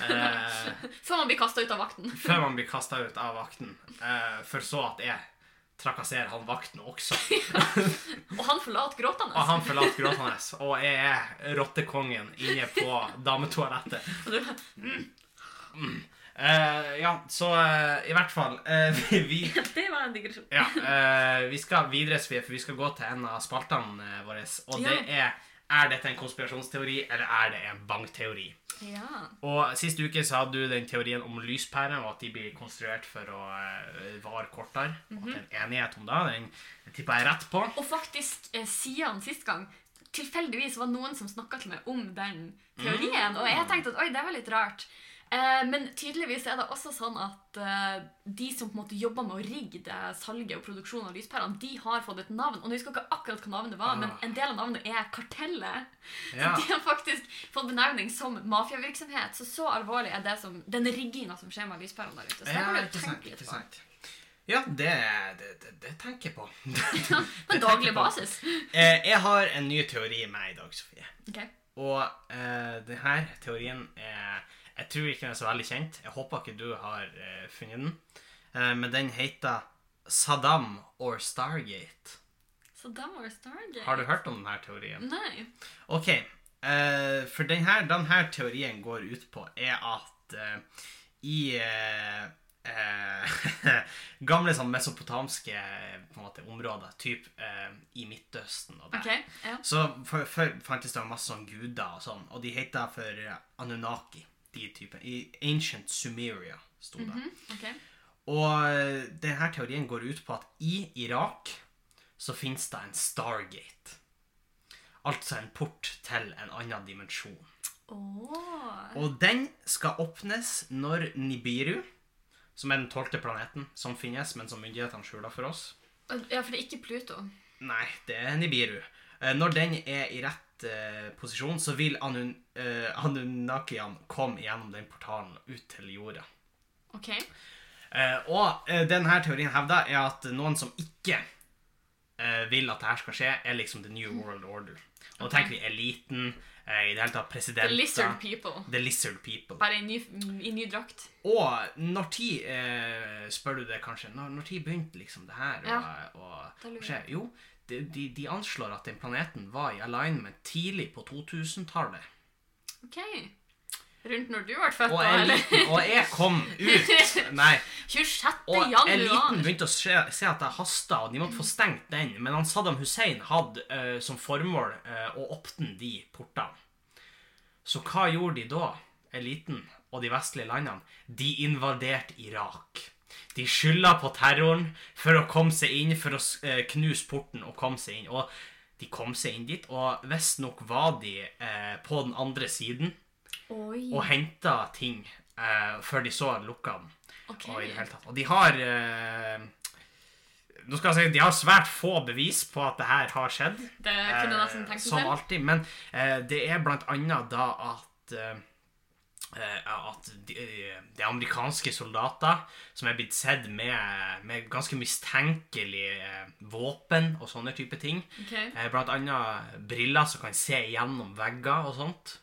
Speaker 1: Eh,
Speaker 2: før man blir kasta ut av vakten.
Speaker 1: før man blir kastet ut av vakten. Eh, for så at jeg trakasserer han vakten også.
Speaker 2: Og han forlater gråtende.
Speaker 1: Og han forlater gråtende, og jeg er rottekongen inne på dametoalettet.
Speaker 2: Og du bare,
Speaker 1: Eh, ja, så eh, i hvert fall eh, vi, vi
Speaker 2: Det var en digresjon.
Speaker 1: Ja, eh, vi skal videre, Sofie, for vi skal gå til en av spaltene eh, våre. Og det er Er dette en konspirasjonsteori, eller er det en bankteori?
Speaker 2: Ja.
Speaker 1: Og Sist uke så hadde du den teorien om lyspærer, og at de blir konstruert for å eh, vare kortere. Og at
Speaker 2: Mhm.
Speaker 1: det er enighet om det. Den tippa jeg rett på.
Speaker 2: Og faktisk, eh, siden sist gang, tilfeldigvis var noen som snakka til meg om den
Speaker 1: Mm.
Speaker 2: teorien. Og jeg tenkte at oi, det var litt rart. Eh, men tydeligvis er det også sånn at eh, de som på en måte jobber med å rigge det salget og produksjonen av lyspærene, de har fått et navn. Og jeg husker ikke akkurat hva navnet var, men
Speaker 1: Ah.
Speaker 2: en del av navnet er Kartellet. Så
Speaker 1: Ja.
Speaker 2: de har faktisk fått benevning som mafiavirksomhet. Så så alvorlig er det som, den rigginga som skjer med lyspærene der ute. Så det
Speaker 1: Ja,
Speaker 2: kan du
Speaker 1: ikke sant,
Speaker 2: tenke litt
Speaker 1: ikke
Speaker 2: på.
Speaker 1: sant. Ja, det, det, det, det tenker jeg på.
Speaker 2: På en daglig basis.
Speaker 1: Eh, jeg har en ny teori med i dag, Sofie.
Speaker 2: Ok.
Speaker 1: Og eh, denne teorien er Jeg tror ikke den er så veldig kjent. Jeg håper ikke du har eh, funnet den. Eh, men den heter Saddam or Stargate.
Speaker 2: Så da var det Stargate.
Speaker 1: Har du hørt om denne teorien?
Speaker 2: Nei.
Speaker 1: OK. eh, for denne, denne teorien går ut på er at eh, i eh, eh, gamle sånn mesopotamske på en måte, områder, typ eh, i Midtøsten og der,
Speaker 2: Ok, ja.
Speaker 1: Så før før fantes det masse sånn guder og sånn, og de heter for eh, Anunnaki. de type, I Ancient Sumeria sto det.
Speaker 2: Mhm, ok.
Speaker 1: Og denne teorien går ut på at i Irak så finnes det en Stargate. Altså en port til en annen dimensjon.
Speaker 2: Åh.
Speaker 1: Og den skal åpnes når Nibiru, som er den tolvte planeten som finnes, men som myndighetene skjuler for oss
Speaker 2: Ja, for det er ikke Pluto.
Speaker 1: Nei, det er Nibiru. Eh, Når den er i rett eh, posisjon, så vil Anun, eh, Anunnakian komme gjennom den portalen og ut til jorda.
Speaker 2: Ok.
Speaker 1: Eh, og eh, denne teorien hevder er at noen som ikke eh, vil at dette skal skje, er liksom the new world order. Og da tenker vi eliten, eh, i det hele tatt
Speaker 2: The
Speaker 1: presidenter
Speaker 2: lizard people.
Speaker 1: The lizard people.
Speaker 2: Bare i ny, i ny drakt.
Speaker 1: Og når tid eh, spør du det kanskje, når, når tid begynte liksom det her å
Speaker 2: Ja.
Speaker 1: å-
Speaker 2: Da lurer
Speaker 1: å skje? Jo, de, de, de anslår at den planeten var i alignment tidlig på 2000-tallet.
Speaker 2: Ok. Rundt når du ble født,
Speaker 1: Og
Speaker 2: da, eller?
Speaker 1: eliten, og jeg kom ut! Nei.
Speaker 2: 26.
Speaker 1: Og eliten
Speaker 2: januar.
Speaker 1: begynte å se, se at det hasta, og de måtte få stengt den. Men han Saddam Hussein hadde eh, som formål eh, å åpne de portene. Så hva gjorde de da, eliten og de vestlige landene? De invaderte Irak. De skylda på terroren for å komme seg inn, for å s- eh, knuse porten og komme seg inn. Og de kom seg inn dit, og visstnok var de eh, på den andre siden
Speaker 2: Oi.
Speaker 1: og henta ting eh, før de så lukka den.
Speaker 2: Ok.
Speaker 1: Og i det hele tatt. Og de har eh, Nå skal jeg si De har svært få bevis på at det her har skjedd.
Speaker 2: Det kunne
Speaker 1: eh,
Speaker 2: nesten tenkt
Speaker 1: som
Speaker 2: meg til.
Speaker 1: alltid. Men eh, det er blant annet da at eh, eh, at de, eh, de amerikanske soldater som er blitt sett med, med ganske mistenkelige eh, våpen og sånne type ting
Speaker 2: Ok.
Speaker 1: eh, Blant annet briller som kan se gjennom vegger og sånt.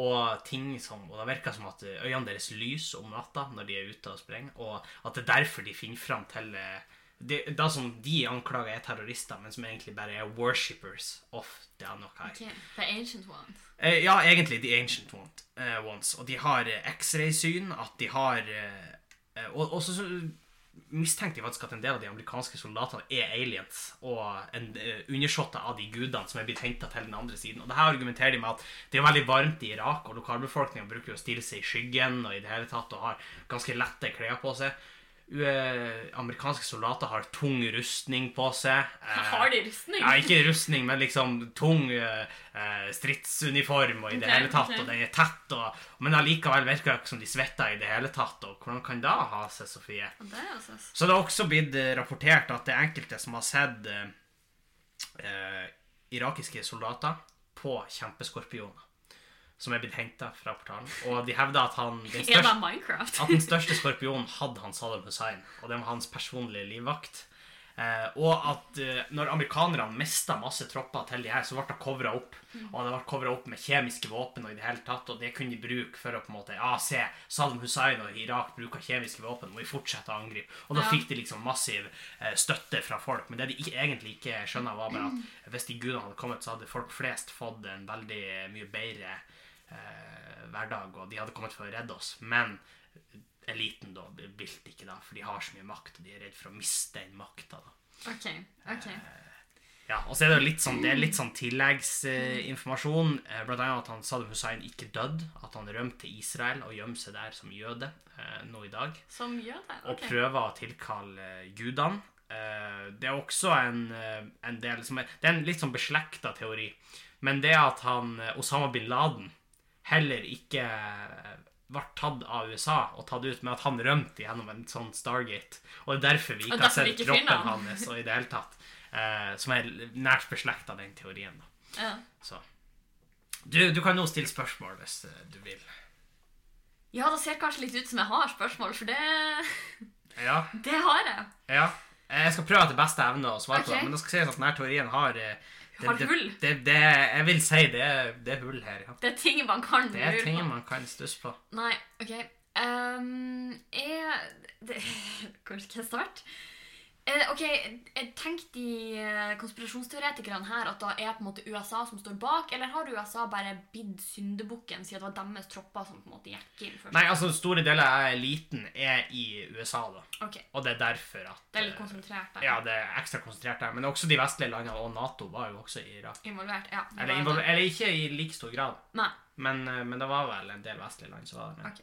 Speaker 1: Og ting som Og det virker som at øynene deres lyser om natta når de er ute og sprenger, og at det er derfor de finner fram til eh, det, det som de anklager er terrorister, men som egentlig bare er worshippers of the Anokai.
Speaker 2: Ok. The ancient one.
Speaker 1: Eh, ja, egentlig The Ancient One- eh, Ones. Og de har eh, X-ray-syn, at de har eh, eh, Og og så så mistenkte jeg faktisk at en del av de amerikanske soldatene er aliens og en eh, undersåtter av de gudene som er blitt henta til den andre siden. Og det her argumenterer de med at det er veldig varmt i Irak, og lokalbefolkninga bruker jo å stille seg i skyggen og i det hele tatt og har ganske lette klær på seg. Eh, amerikanske soldater har tung rustning på seg. eh,
Speaker 2: Har de rustning?
Speaker 1: ja, ikke rustning, men liksom tung eh, eh, stridsuniform og i det
Speaker 2: Ok,
Speaker 1: hele tatt,
Speaker 2: ok.
Speaker 1: og den er tett, og, men allikevel virker det ikke som de svetter i det hele tatt, og hvordan kan det ha seg, Sofie?
Speaker 2: Ja, Det er altså...
Speaker 1: Så det har også blitt eh, rapportert at det er enkelte som har sett eh, eh, irakiske soldater på kjempeskorpioner, som er blitt hentet fra portalen, og de hevder at han, den
Speaker 2: Er det
Speaker 1: største,
Speaker 2: Minecraft?
Speaker 1: at den største skorpionen hadde han Saddam Hussein, og det var hans personlige livvakt. Eh, og at eh, når amerikanerne mista masse tropper til de her, så ble det covra opp. Og det ble covret opp med kjemiske våpen og i det hele tatt, og det kunne de bruke for å på en måte Ja, se, Saddam Hussein og Irak bruker kjemiske våpen, må vi fortsette å angripe. Og da
Speaker 2: Ja.
Speaker 1: fikk de liksom massiv eh, støtte fra folk. Men det de ikke, egentlig ikke skjønner, var bare at hvis de gudene hadde kommet, så hadde folk flest fått en veldig mye bedre eh, hverdag, og de hadde kommet for å redde oss. Men eliten da vil ikke da, for de har så mye makt, og de er redd for å miste den makta. da.
Speaker 2: Ok, ok.
Speaker 1: Eh, Ja, og så er det jo litt sånn, det er litt sånn tilleggsinformasjon, eh, blant annet at han Saddam Hussein ikke døde, at han rømte til Israel og gjemmer seg der som jøde eh, nå i dag,
Speaker 2: Som gjør det?
Speaker 1: og
Speaker 2: Ok.
Speaker 1: prøver å tilkalle eh, gudene. Eh, det er også en, eh, en del som er, det er en litt sånn beslekta teori, men det at han, eh, Osama bin Laden heller ikke eh, ble tatt av USA og tatt ut, men at han rømte gjennom en sånn Stargate. Og det er derfor vi
Speaker 2: Og
Speaker 1: ikke har
Speaker 2: derfor vi
Speaker 1: sett
Speaker 2: ikke
Speaker 1: kroppen
Speaker 2: finner han.
Speaker 1: hans og i det hele tatt. eh, som er nært beslekta den teorien. da.
Speaker 2: Ja.
Speaker 1: Så. Du, du kan nå stille spørsmål hvis eh, du vil.
Speaker 2: ja, det ser kanskje litt ut som jeg har spørsmål, for det,
Speaker 1: Ja,
Speaker 2: det har jeg.
Speaker 1: ja. Eh, Jeg skal prøve etter beste evne å svare på
Speaker 2: Ok.
Speaker 1: det, men det skal sies at denne teorien har eh, det,
Speaker 2: Har hull.
Speaker 1: Det, det, det, jeg vil si det, er- det er hull her, ja.
Speaker 2: Det er ting man kan
Speaker 1: Det er
Speaker 2: lure
Speaker 1: ting
Speaker 2: på.
Speaker 1: man kan stusse på.
Speaker 2: Nei, ok. Um, jeg det, Hvor skal jeg starte? Eh, ok, jeg tenker de eh, konspirasjonsteoretikerne her at da er på en måte USA som står bak, eller har USA bare bidd syndebukken siden det var deres tropper som på en måte gikk inn først?
Speaker 1: Nei, altså store deler av eliten er i USA, da.
Speaker 2: Ok,
Speaker 1: Og det er derfor at
Speaker 2: det er litt
Speaker 1: eh,
Speaker 2: konsentrert der.
Speaker 1: Ja, det er ekstra konsentrert der. Men også de vestlige landene og Nato var jo også i Irak.
Speaker 2: Involvert, ja. det
Speaker 1: Eller,
Speaker 2: var-
Speaker 1: invol- eller ikke i like stor grad.
Speaker 2: Nei.
Speaker 1: Men, eh, men det var vel en del vestlige land som var der.
Speaker 2: Ok.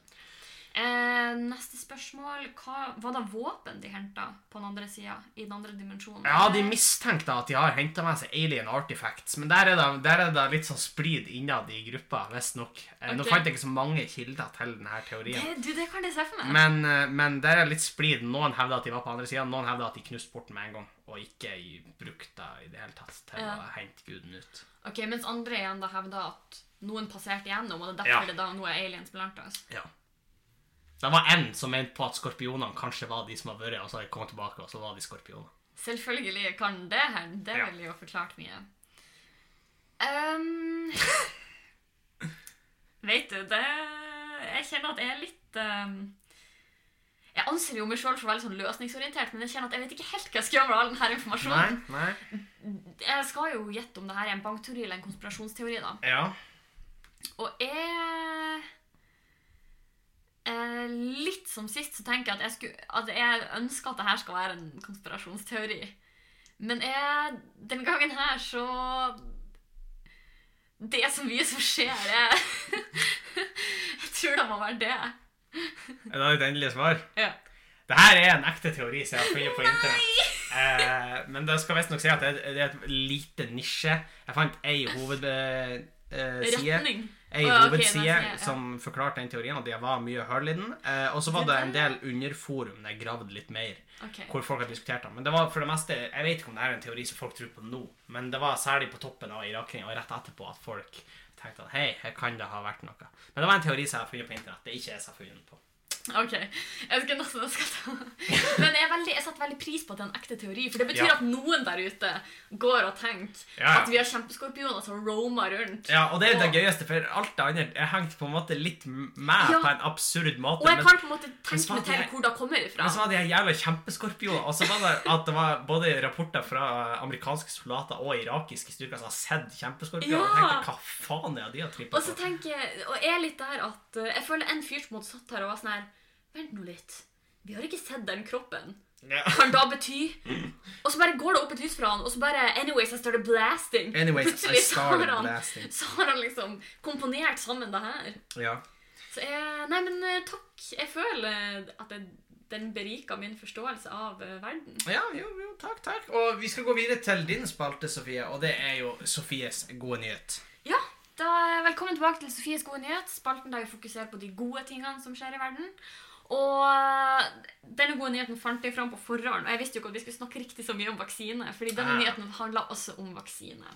Speaker 2: Eh, neste spørsmål. Hva, var det våpen de henta på den andre sida? I den andre dimensjonen?
Speaker 1: Ja, de mistenkte at de har henta med seg alien artifacts, men der er det, der er det litt sånn splid innad i gruppa, visstnok. Okay. Nå
Speaker 2: Ok.
Speaker 1: fant jeg ikke så mange kilder til denne teorien.
Speaker 2: det, Du, det kan jeg se for meg.
Speaker 1: Men, eh, men der er litt splid. Noen hevder at de var på andre sida, noen hevder at de knuste porten med en gang, og ikke i- brukte det i det hele tatt til
Speaker 2: Ja.
Speaker 1: å hente guden ut.
Speaker 2: Ok, Mens andre igjen da hevder at noen passerte igjennom, og det er
Speaker 1: Ja.
Speaker 2: derfor det da nå er aliens blant oss.
Speaker 1: Ja. Det var en som mente på at skorpionene kanskje var de som har vært, og så har de kommet tilbake, og så var de skorpioner.
Speaker 2: Selvfølgelig kan det hende. Det
Speaker 1: Ja.
Speaker 2: ville jo forklart mye. Um, vet du, det Jeg kjenner at jeg er litt ehm, Jeg anser jo meg sjøl for å være litt sånn løsningsorientert, men jeg kjenner at jeg vet ikke helt hva jeg skal gjøre med all denne informasjonen.
Speaker 1: nei.
Speaker 2: Jeg skal jo gjette om det her er en bankteori eller en konspirasjonsteori, da.
Speaker 1: Ja.
Speaker 2: Og jeg eh, Litt som sist så tenker jeg at jeg, skulle, at jeg ønsker at det her skal være en konspirasjonsteori. Men jeg, den gangen her så Det er så mye som skjer. Jeg, jeg tror det må være det.
Speaker 1: Er det ditt endelige svar?
Speaker 2: Ja.
Speaker 1: Det her er en ekte teori som jeg har funnet på internett. Eh, men det skal visstnok si at det er, det er et lite nisje. Jeg fant ei hovedside eh, side,
Speaker 2: Retning.
Speaker 1: ei
Speaker 2: Å, ja, ok,
Speaker 1: hovedside
Speaker 2: den siden, ja.
Speaker 1: som forklarte den teorien, og det var mye hull i den. Eh, og så var det en del underforum der jeg gravde litt mer,
Speaker 2: Ok.
Speaker 1: hvor folk har diskutert det. Men det var for det meste Jeg vet ikke om det er en teori som folk tror på nå, men det var særlig på toppen av Irak-krigen og rett etterpå at folk tenkte at hei, her kan det ha vært noe. Men det var en teori som jeg har funnet på internett. Det er ikke jeg som har funnet den på.
Speaker 2: Ok, jeg skal nesten jeg skal ta Men jeg, er veldig, jeg setter veldig pris på at det er en ekte teori, for det betyr
Speaker 1: Ja.
Speaker 2: at noen der ute går og tenker
Speaker 1: Ja, ja.
Speaker 2: at vi har kjempeskorpioner som roamer rundt.
Speaker 1: Ja, og det er det
Speaker 2: Og-
Speaker 1: gøyeste, for alt det andre er hengt på en måte litt med på
Speaker 2: Ja.
Speaker 1: en absurd måte.
Speaker 2: Og jeg
Speaker 1: altså, men-
Speaker 2: kan på en måte
Speaker 1: men så
Speaker 2: tenke meg
Speaker 1: var
Speaker 2: til
Speaker 1: det-
Speaker 2: hvor det kommer ifra.
Speaker 1: men så var det de her jævla kjempeskorpioner, og så var det at det var både rapporter fra amerikanske soldater og irakiske styrker som har sett kjempeskorpioner, og
Speaker 2: Ja.
Speaker 1: tenkte hva faen er det de har trippet
Speaker 2: Og så
Speaker 1: på?
Speaker 2: tenker jeg, og jeg er litt der at eh, Jeg føler en fyr som hadde satt her og var sånn her Vent nå litt. Vi har ikke sett den kroppen.
Speaker 1: Ja.
Speaker 2: Kan da bety Og så bare går det opp et lys fra han, og så bare Anyways, I started blasting.
Speaker 1: Anyways, I
Speaker 2: Plutselig så har
Speaker 1: started
Speaker 2: han-
Speaker 1: blasting.
Speaker 2: Så har han liksom komponert sammen det her.
Speaker 1: Ja.
Speaker 2: Så jeg, nei, men eh, takk. Jeg føler at jeg, den beriker min forståelse av eh, verden.
Speaker 1: ja, jo, jo, takk, takk. Og vi skal gå videre til din spalte, Sofie, og det er jo Sofies gode nyhet.
Speaker 2: Ja, da eh, Velkommen tilbake til Sofies gode nyhet, spalten der vi fokuserer på de gode tingene som skjer i verden. Og eh, denne gode nyheten fant jeg fram på forhånd, og jeg visste jo ikke at vi skulle snakke riktig så mye om vaksine, fordi denne
Speaker 1: Ah.
Speaker 2: nyheten handla også om vaksine.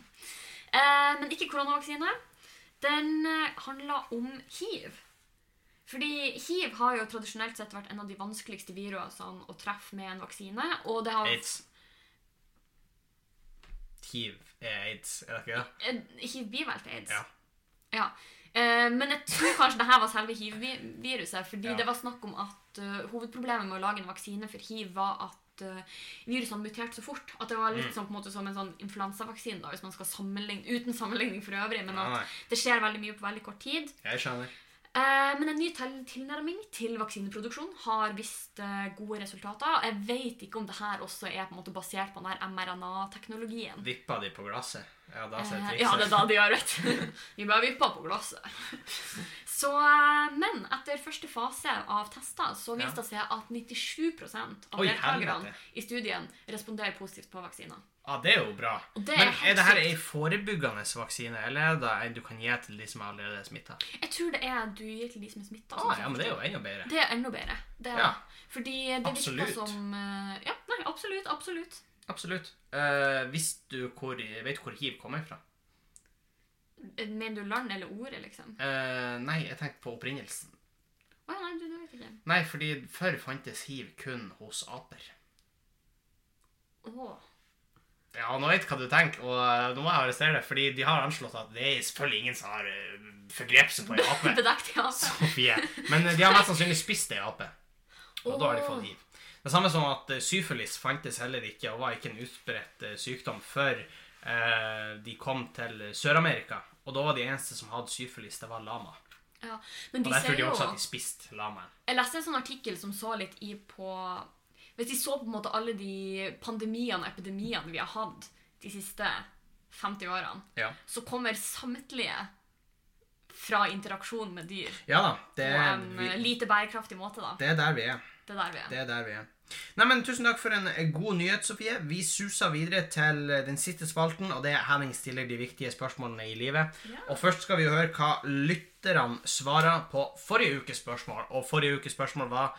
Speaker 2: Eh, men ikke koronavaksine. Den eh, handler om hiv. Fordi hiv har jo tradisjonelt sett vært en av de vanskeligste virusene å treffe med en vaksine. Og det har
Speaker 1: Aids. Hiv er aids, er det ikke det?
Speaker 2: Eh, Hiv blir vel til aids.
Speaker 1: Ja.
Speaker 2: Ja. Eh, men jeg tror kanskje det her var selve hiv-viruset. Fordi
Speaker 1: Ja.
Speaker 2: det var snakk om at eh, hovedproblemet med å lage en vaksine for hiv var at eh, virusene muterte så fort. At det var
Speaker 1: Mm.
Speaker 2: litt sånn, på en måte, som en sånn influensavaksine, da, hvis man skal sammenligne, uten sammenligning for øvrig. Men
Speaker 1: Nei,
Speaker 2: at
Speaker 1: nei,
Speaker 2: det skjer veldig mye på veldig kort tid.
Speaker 1: jeg skjønner.
Speaker 2: Eh, Men en ny til- tilnærming til vaksineproduksjon har vist eh, gode resultater. Jeg vet ikke om det her også er på en måte basert på den her mRNA-teknologien.
Speaker 1: Vippa de på glasset? Ja, da ser
Speaker 2: Eh,
Speaker 1: Altså, jeg
Speaker 2: Ja, det er da de gjør, vet du. Vi bare vippa på glasset. Så, eh, men etter første fase av tester så viste det seg at 97 av
Speaker 1: Oi,
Speaker 2: deltakerne
Speaker 1: helvete.
Speaker 2: i studien responderer positivt på vaksiner.
Speaker 1: Ja, det er jo bra.
Speaker 2: Og det er
Speaker 1: Men er
Speaker 2: helt
Speaker 1: det her
Speaker 2: sykt.
Speaker 1: ei forebyggende vaksine, eller er det en du kan gi til de som er allerede er smitta?
Speaker 2: Jeg tror det er du gir til de som er smitta.
Speaker 1: Ah, ja, men det er jo enda bedre.
Speaker 2: Det er enda bedre. Det er,
Speaker 1: Ja.
Speaker 2: Fordi det virker
Speaker 1: Absolutt.
Speaker 2: som eh, Ja, nei, absolutt. Absolutt.
Speaker 1: Absolutt. Eh, hvis du hvor, vet du hvor hiv kommer fra?
Speaker 2: Eh, Mener du land eller ordet, liksom?
Speaker 1: Eh, nei, jeg tenkte på opprinnelsen.
Speaker 2: Å ja, nei, du, det vet jeg ikke.
Speaker 1: Nei, fordi før fantes hiv kun hos aper.
Speaker 2: Åh.
Speaker 1: Ja, nå vet jeg hva du tenker, og eh, nå må jeg arrestere deg, fordi de har anslått at det er selvfølgelig ingen som har eh, forgrepet seg på ei ape.
Speaker 2: Bedekt i ape.
Speaker 1: Sofie. Men eh, de har mest sannsynlig spist ei ape. Og da har de fått hiv. Det samme som at eh, syfilis fantes heller ikke, og var ikke en utbredt eh, sykdom før eh, de kom til Sør-Amerika. Og da var de eneste som hadde syfilis, det var lama.
Speaker 2: Ja. Men
Speaker 1: Og
Speaker 2: de
Speaker 1: der tror
Speaker 2: ser
Speaker 1: de
Speaker 2: jo
Speaker 1: også at de spiste lamaen.
Speaker 2: Jeg leste en sånn artikkel som så litt i på Hvis de så på en måte alle de pandemiene og epidemiene vi har hatt de siste 50 årene,
Speaker 1: Ja.
Speaker 2: så kommer samtlige fra interaksjon med dyr
Speaker 1: Ja da. Det,
Speaker 2: på en eh,
Speaker 1: vi,
Speaker 2: lite bærekraftig måte, da.
Speaker 1: det er der vi er.
Speaker 2: Det er der vi er.
Speaker 1: Det er der vi er. Nei, men Tusen takk for en eh, god nyhet, Sofie. Vi suser videre til eh, den siste spalten, og det er Henning stiller de viktige spørsmålene i livet.
Speaker 2: Ja.
Speaker 1: Og først skal vi høre hva lytterne svarer på forrige ukes spørsmål. Og forrige ukes spørsmål var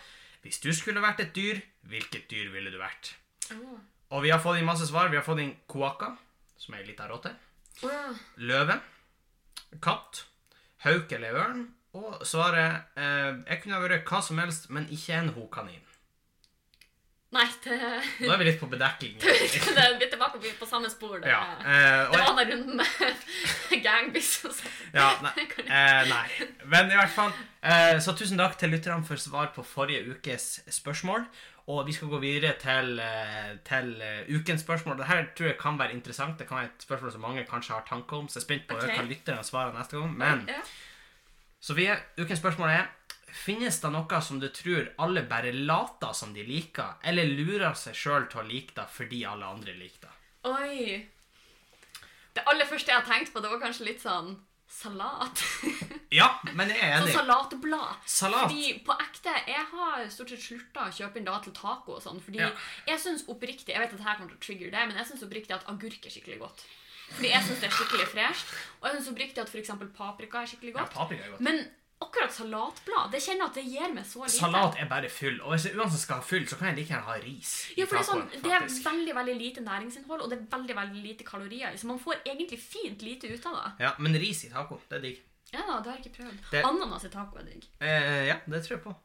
Speaker 1: Hvis du skulle vært et dyr, hvilket dyr ville du vært?
Speaker 2: Åh.
Speaker 1: Og vi har fått inn masse svar. Vi har fått inn koaka, som er ei lita rotte.
Speaker 2: Åh, ja.
Speaker 1: Løve, katt, hauk eller ørn. Og svaret eh, Jeg kunne ha vært hva som helst, men ikke en hokanin.
Speaker 2: Nei, det,
Speaker 1: Nå er vi litt på bedekking.
Speaker 2: det er vi er tilbake på- på samme spor. Det,
Speaker 1: Ja. Eh,
Speaker 2: det
Speaker 1: og,
Speaker 2: var den runden med gangbiss og sånn.
Speaker 1: ja nei, eh, nei. Men i hvert fall eh, Så tusen takk til lytterne for svar på forrige ukes spørsmål. Og vi skal gå videre til, eh, til eh, ukens spørsmål. Dette tror jeg kan være interessant. Det kan være et spørsmål som mange kanskje har tanker om. Så jeg er spent på å høre
Speaker 2: Ok.
Speaker 1: hva lytterne svarer neste gang. Men
Speaker 2: Ja.
Speaker 1: Sofie, ukens spørsmål er Finnes det noe som du tror alle bare later som de liker, eller lurer seg sjøl til å like det fordi alle andre liker det?
Speaker 2: Oi. Det aller første jeg tenkte på, det var kanskje litt sånn salat.
Speaker 1: Ja, men jeg er
Speaker 2: sånn
Speaker 1: enig.
Speaker 2: salatblad.
Speaker 1: Salat.
Speaker 2: Fordi på ekte, jeg har stort sett slutta å kjøpe inn da til taco og sånn. Fordi
Speaker 1: Ja.
Speaker 2: jeg syns oppriktig Jeg vet at dette kommer til å trigger det, men jeg syns oppriktig at agurk er skikkelig godt. Fordi jeg syns det er skikkelig fresht. Og jeg syns oppriktig at f.eks. paprika er skikkelig
Speaker 1: Ja,
Speaker 2: godt.
Speaker 1: paprika er godt.
Speaker 2: Men akkurat salatblad, det kjenner jeg at det gir meg så lite.
Speaker 1: Salat er bare fyll, og hvis jeg uansett skal ha fyll, så kan jeg like gjerne ha ris. i
Speaker 2: Ja, for det er, sånn,
Speaker 1: tacoen,
Speaker 2: det er
Speaker 1: faktisk.
Speaker 2: veldig veldig lite næringsinnhold, og det er veldig veldig lite kalorier. i, Så man får egentlig fint lite ut av det.
Speaker 1: Ja, men ris i taco, det er digg.
Speaker 2: Ja, det har jeg ikke prøvd.
Speaker 1: Det-
Speaker 2: Ananas i taco er digg.
Speaker 1: Eh, ja, det tror jeg på.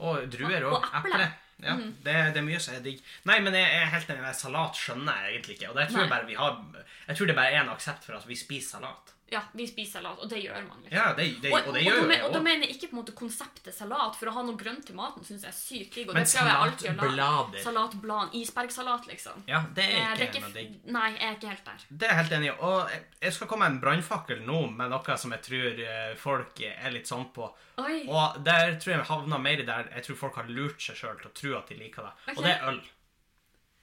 Speaker 1: Og druer
Speaker 2: Mm. Og-
Speaker 1: og
Speaker 2: og eple. Mm.
Speaker 1: eple. Ja, det, det er mye som er digg. Nei, men jeg er helt enig. Salat skjønner jeg egentlig ikke. Og der tror jeg
Speaker 2: Nei.
Speaker 1: bare vi har Jeg tror det bare er en aksept for at vi spiser salat.
Speaker 2: Ja, vi spiser salat, og det gjør man. liksom.
Speaker 1: Ja, det, det,
Speaker 2: Og,
Speaker 1: og det gjør
Speaker 2: da
Speaker 1: jo
Speaker 2: men-
Speaker 1: jeg
Speaker 2: og da
Speaker 1: òg.
Speaker 2: mener jeg ikke på en måte konseptet salat, for å ha noe grønt til maten syns jeg er sykt digg. Og
Speaker 1: Men
Speaker 2: det prøver jeg alltid å
Speaker 1: salatblader.
Speaker 2: lage. Salatblader. Isbergsalat, liksom.
Speaker 1: Ja, det
Speaker 2: Eh,
Speaker 1: er
Speaker 2: det
Speaker 1: ikke noe
Speaker 2: f-
Speaker 1: digg.
Speaker 2: Nei, jeg er ikke helt der.
Speaker 1: Det er jeg helt enig i. Og jeg- jeg skal komme med en brannfakkel nå med noe som jeg tror eh, folk er litt sånn på.
Speaker 2: Oi.
Speaker 1: Og der tror jeg vi havner mer i der jeg tror folk har lurt seg sjøl til å tro at de liker det.
Speaker 2: Ok.
Speaker 1: Og det er øl.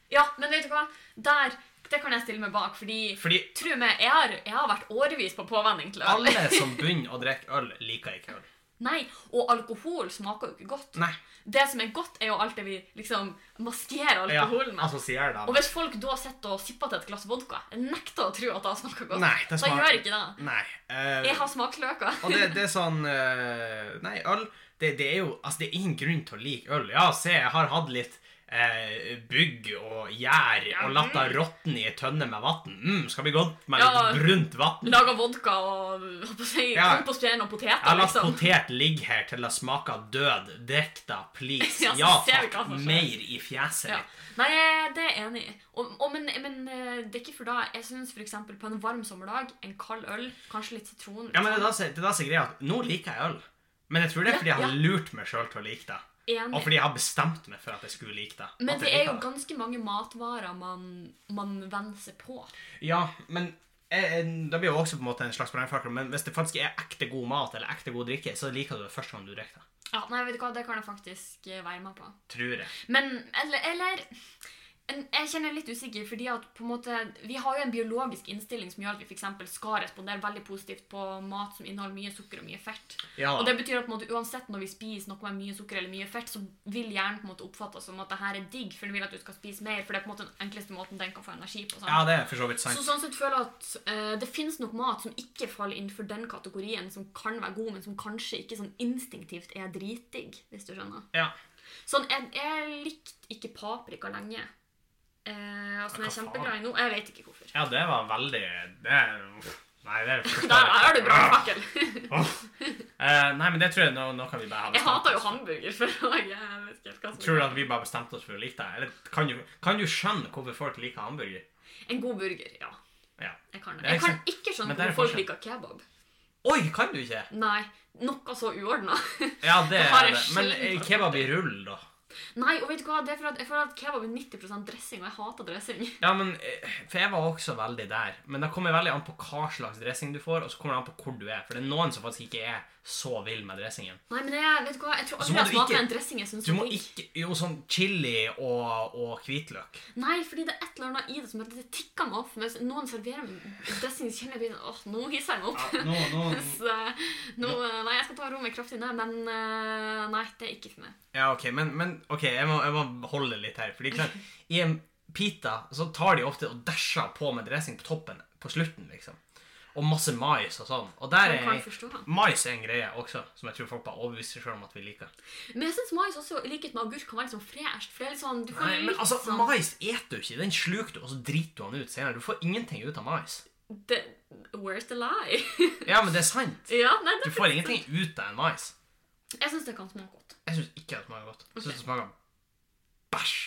Speaker 2: Ja, men vet du hva? Der, det kan jeg stille meg bak, fordi,
Speaker 1: Fordi
Speaker 2: Tro meg, jeg har, jeg har vært årevis på påvenning til øl.
Speaker 1: alle som begynner å drikke øl, liker ikke øl.
Speaker 2: Nei, og alkohol smaker jo ikke godt.
Speaker 1: Nei.
Speaker 2: Det som er godt, er jo alt det vi liksom maskerer
Speaker 1: Ja, Altså,
Speaker 2: alkoholen med.
Speaker 1: assosierer
Speaker 2: Og
Speaker 1: det.
Speaker 2: hvis folk da sitter og sipper til et glass vodka, jeg nekter å tro at det smaker godt.
Speaker 1: Nei, det
Speaker 2: da
Speaker 1: smaker-
Speaker 2: gjør ikke det.
Speaker 1: Nei. eh,
Speaker 2: Jeg har smaksløker.
Speaker 1: og det, det er sånn eh, Nei, øl det, det er jo Altså, det er ingen grunn til å like øl. Ja, se, jeg har hatt litt eh, bygg og gjær og latt det råtne i ei tønne med vann. Mm, skal bli godt med
Speaker 2: mm. Ja.
Speaker 1: litt brunt vann.
Speaker 2: Lager vodka og hva på å si,
Speaker 1: Ja.
Speaker 2: kom på steinen og
Speaker 1: Jeg har
Speaker 2: poteter,
Speaker 1: latt
Speaker 2: liksom.
Speaker 1: potet ligge her til det smaker død. Drikk da, please.
Speaker 2: Ja,
Speaker 1: Ja,
Speaker 2: så ser vi
Speaker 1: takk.
Speaker 2: hva som skjer.
Speaker 1: Mer i fjeset
Speaker 2: Ja.
Speaker 1: ditt.
Speaker 2: Nei, jeg- det er jeg enig i. Og, og, men, men eh, det er ikke for da. Jeg syns f.eks. på en varm sommerdag, en kald øl, kanskje litt sitron
Speaker 1: Ja, men det er da som- det er da som er greia at nå liker jeg øl. Men jeg tror det er
Speaker 2: Ja,
Speaker 1: fordi jeg har
Speaker 2: ja.
Speaker 1: lurt meg sjøl til å like det.
Speaker 2: Enig.
Speaker 1: Og fordi jeg har bestemt meg for at jeg skulle like det.
Speaker 2: Men
Speaker 1: At
Speaker 2: det
Speaker 1: jeg
Speaker 2: er jo
Speaker 1: liker
Speaker 2: ganske mange matvarer man, man venner seg på.
Speaker 1: Ja, men eh, eh, da blir jo også på en måte en slags brannfakkel. Men hvis det faktisk er ekte god mat eller ekte god drikke, så liker du det første gang du drikker det.
Speaker 2: Ja, nei, vet du hva, Det kan jeg faktisk eh, være med på.
Speaker 1: Tror jeg.
Speaker 2: Men Eller, eller en- Jeg kjenner litt usikker, fordi at på en måte, vi har jo en biologisk innstilling som gjør at vi for eksempel skal respondere veldig positivt på mat som inneholder mye sukker og mye fett.
Speaker 1: Ja.
Speaker 2: Og det betyr at på en måte, uansett når vi spiser noe med mye sukker eller mye fett, så vil hjernen på en måte oppfattes som at det her er digg, for den vil at du skal spise mer. For det er på en måte den enkleste måten den kan få energi på. sant?
Speaker 1: ja, det er for så vidt
Speaker 2: Så
Speaker 1: sant.
Speaker 2: sånn sett føler jeg at eh, det finnes nok mat som ikke faller innenfor den kategorien som kan være god, men som kanskje ikke sånn instinktivt er dritdigg, hvis du skjønner.
Speaker 1: Ja.
Speaker 2: Sånn, jeg, jeg likte ikke paprika lenge. Eh, altså, jeg er
Speaker 1: Hva faen?
Speaker 2: kjempeglad i nå. Jeg vet ikke hvorfor.
Speaker 1: ja, det var veldig Det er uff. Nei, det er
Speaker 2: Der er du bra,
Speaker 1: Ah,
Speaker 2: fakkel.
Speaker 1: uff. Eh, nei, men det tror jeg nå, nå kan vi bare ha
Speaker 2: Jeg
Speaker 1: bestemt
Speaker 2: hater jo
Speaker 1: oss.
Speaker 2: hamburger, for jeg vet ikke helt hva
Speaker 1: Tror
Speaker 2: som
Speaker 1: du
Speaker 2: er.
Speaker 1: at vi bare bestemte oss for å like det? Eller kan du, kan du skjønne hvorfor folk liker hamburger?
Speaker 2: En god burger, ja.
Speaker 1: Ja.
Speaker 2: Jeg kan det.
Speaker 1: Det er
Speaker 2: Jeg kan
Speaker 1: sant.
Speaker 2: ikke skjønne
Speaker 1: Men der er
Speaker 2: hvorfor folk
Speaker 1: forskjell.
Speaker 2: liker kebab.
Speaker 1: Oi, kan du ikke?
Speaker 2: Nei, noe så uordna.
Speaker 1: Ja, det
Speaker 2: har
Speaker 1: er
Speaker 2: jeg
Speaker 1: det. Men
Speaker 2: sjelden
Speaker 1: eh, kebab i rull, da?
Speaker 2: Nei, og vet du hva? Det er for at, jeg føler at kebab er 90 dressing, og jeg hater dressing.
Speaker 1: Ja, men eh, For jeg var også veldig der. Men det kommer veldig an på hva slags dressing du får, og så kommer det an på hvor du er. For det er noen som faktisk ikke er så vill med dressingen.
Speaker 2: Nei, men jeg, vet du hva, jeg tror
Speaker 1: Så
Speaker 2: aldri
Speaker 1: må
Speaker 2: jeg
Speaker 1: du
Speaker 2: smaker
Speaker 1: ikke-
Speaker 2: en dressing jeg syns
Speaker 1: Du
Speaker 2: er
Speaker 1: må
Speaker 2: digg.
Speaker 1: ikke Jo, sånn chili og, og hvitløk.
Speaker 2: Nei, fordi det er et eller annet i det som heter det tikker meg opp. Når noen serverer meg dressing, så kjenner jeg bare sånn, åh, nå hisser jeg meg opp.
Speaker 1: Ja, nå, nå,
Speaker 2: Så nå, nei, jeg skal ta rommet kraftig ned, men eh, nei, det er ikke for meg.
Speaker 1: ja OK, men, men ok, jeg, må, jeg må holde litt her. Fordi klart, i en pita så tar de ofte og dæsjer på med dressing på toppen på slutten, liksom. Og masse mais og sånn. Og der
Speaker 2: Jeg kan
Speaker 1: er
Speaker 2: forstå.
Speaker 1: Mais er en greie også, som jeg tror folk bare overbeviser seg selv om at vi liker.
Speaker 2: Men jeg syns mais også, i likhet med agurk, kan være litt sånn fresht. For det er litt sånn, du kan
Speaker 1: Nei, men
Speaker 2: litt
Speaker 1: altså,
Speaker 2: sånn
Speaker 1: mais eter du ikke. Den sluker du, og så driter du den ut senere. Du får ingenting ut av mais.
Speaker 2: det, Where's the lie?
Speaker 1: Ja, men det er sant.
Speaker 2: ja, nei, det, sånn.
Speaker 1: Du får ingenting ut av en mais.
Speaker 2: jeg syns det kan smake godt.
Speaker 1: Jeg syns ikke det smaker godt. Jeg syns det smaker bæsj.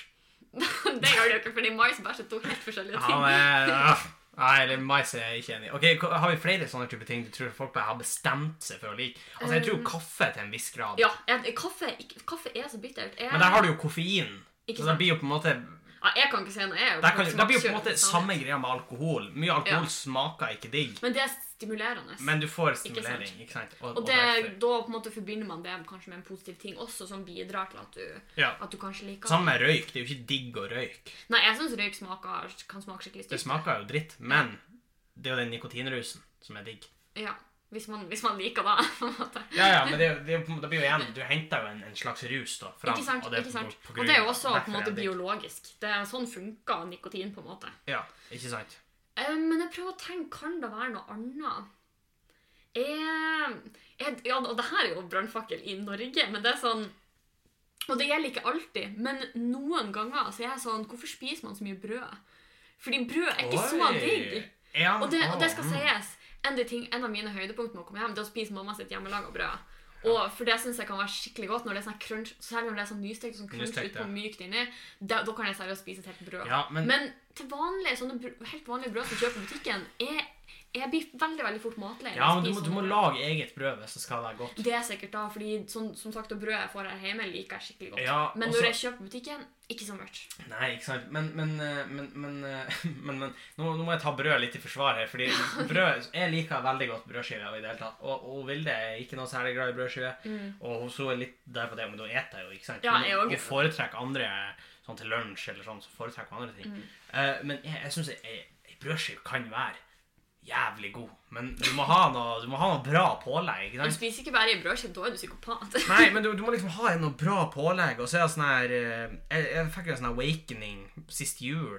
Speaker 2: det gjør det jo ikke, fordi mais og bæsj er to helt forskjellige
Speaker 1: Ja,
Speaker 2: ting.
Speaker 1: men, øh, Nei, eller mais er jeg ikke enig i. Ok, hva- Har vi flere sånne type ting du tror folk bare har bestemt seg for å like? Altså, Jeg tror jo kaffe til en viss grad.
Speaker 2: Um, Ja, jeg, kaffe, er ikke- kaffe er så bittert. Jeg,
Speaker 1: Men der har du jo koffein.
Speaker 2: Ikke
Speaker 1: Så det
Speaker 2: sant.
Speaker 1: blir jo på en måte
Speaker 2: ja, jeg kan ikke si noe. Jeg er jo
Speaker 1: der kan,
Speaker 2: folk som
Speaker 1: det blir jo på en
Speaker 2: absolutt-
Speaker 1: måte samme greia med alkohol. Mye alkohol
Speaker 2: Ja.
Speaker 1: smaker ikke digg,
Speaker 2: Men det er stimulerende.
Speaker 1: men du får
Speaker 2: Ikke sant.
Speaker 1: stimulering. ikke sant?
Speaker 2: Og det,
Speaker 1: derfor-
Speaker 2: da på en måte forbinder man det kanskje med en positiv ting også, som bidrar til at du,
Speaker 1: ja.
Speaker 2: at du kanskje liker
Speaker 1: Samme med røyk. Det er jo ikke digg å røyke.
Speaker 2: Nei, jeg syns røyk smaker, kan smake skikkelig
Speaker 1: Det
Speaker 2: stygt.
Speaker 1: smaker jo dritt, men det er jo den nikotinrusen som er digg.
Speaker 2: Ja, hvis man, hvis man liker det. på en måte.
Speaker 1: Ja, ja, men det, er jo- det, er jo på en måte- det blir jo igjen Du henter jo en, en slags rus da fram.
Speaker 2: Ikke sant?
Speaker 1: og det er på-
Speaker 2: ikke sant?
Speaker 1: på grunn
Speaker 2: Og det er jo
Speaker 1: av-
Speaker 2: også på
Speaker 1: derfor
Speaker 2: en
Speaker 1: er
Speaker 2: måte
Speaker 1: det digg.
Speaker 2: biologisk. Det er Sånn funker nikotin, på en måte.
Speaker 1: Ja, ikke sant?
Speaker 2: Eh, Men jeg prøver å tenke, kan det være noe annet? Jeg, jeg, ja, og det her er jo brannfakkel i Norge, men det er sånn Og det gjelder ikke alltid, men noen ganger så er jeg sånn Hvorfor spiser man så mye brød? Fordi brød er ikke så
Speaker 1: Oi.
Speaker 2: digg.
Speaker 1: Ja,
Speaker 2: Og det, og det skal
Speaker 1: mm.
Speaker 2: sies, en, av de ting, en av mine høydepunkt med å komme hjem, det er å spise mamma sitt hjemmelaga brød. Og for det syns jeg kan være skikkelig godt når det er sånn crunch, særlig når det er sånn nystekt og sånn crunch
Speaker 1: Nystekt,
Speaker 2: utpå
Speaker 1: ja.
Speaker 2: mykt inni. Da, da kan jeg seriøst spise et helt brød.
Speaker 1: Ja, men,
Speaker 2: Men til vanlige, sånne br- helt vanlige brød som du kjøper i butikken, jeg, jeg blir veldig veldig fort matlei. når
Speaker 1: ja,
Speaker 2: jeg
Speaker 1: men du, må,
Speaker 2: spiser
Speaker 1: du må
Speaker 2: sånne brød.
Speaker 1: lage eget brød hvis det skal være godt.
Speaker 2: Det er sikkert da, fordi sånn- som sagt, det brødet jeg får her hjemme, liker jeg skikkelig godt.
Speaker 1: Ja,
Speaker 2: men
Speaker 1: og
Speaker 2: når
Speaker 1: så-
Speaker 2: jeg kjøper i butikken, ikke så much.
Speaker 1: Nei, ikke sant. Men, men, eh, men, men, eh, men, men nå, nå må jeg ta brød litt i forsvar her. Fordi brød, jeg liker veldig godt brødskiver. i det hele tatt. Og, og Vilde er ikke noe særlig glad i brødskiver. Og hun så er litt der på det, men da eter jeg jo, ikke sant.
Speaker 2: Mm. Ja,
Speaker 1: Men
Speaker 2: jeg også.
Speaker 1: Hun foretrekker andre sånn til lunsj eller sånn, så foretrekker hun andre ting.
Speaker 2: Mm.
Speaker 1: Eh, men jeg, jeg syns ei brødskive kan være jævlig god. Men du må ha noe, du må ha noe bra pålegg. ikke sant?
Speaker 2: Du spiser ikke bare i brødskive, da er du psykopat.
Speaker 1: Nei, men du, du må liksom ha noe bra pålegg. Og så er det sånn her eh, Jeg, jeg fikk en sånn awakening sist jul.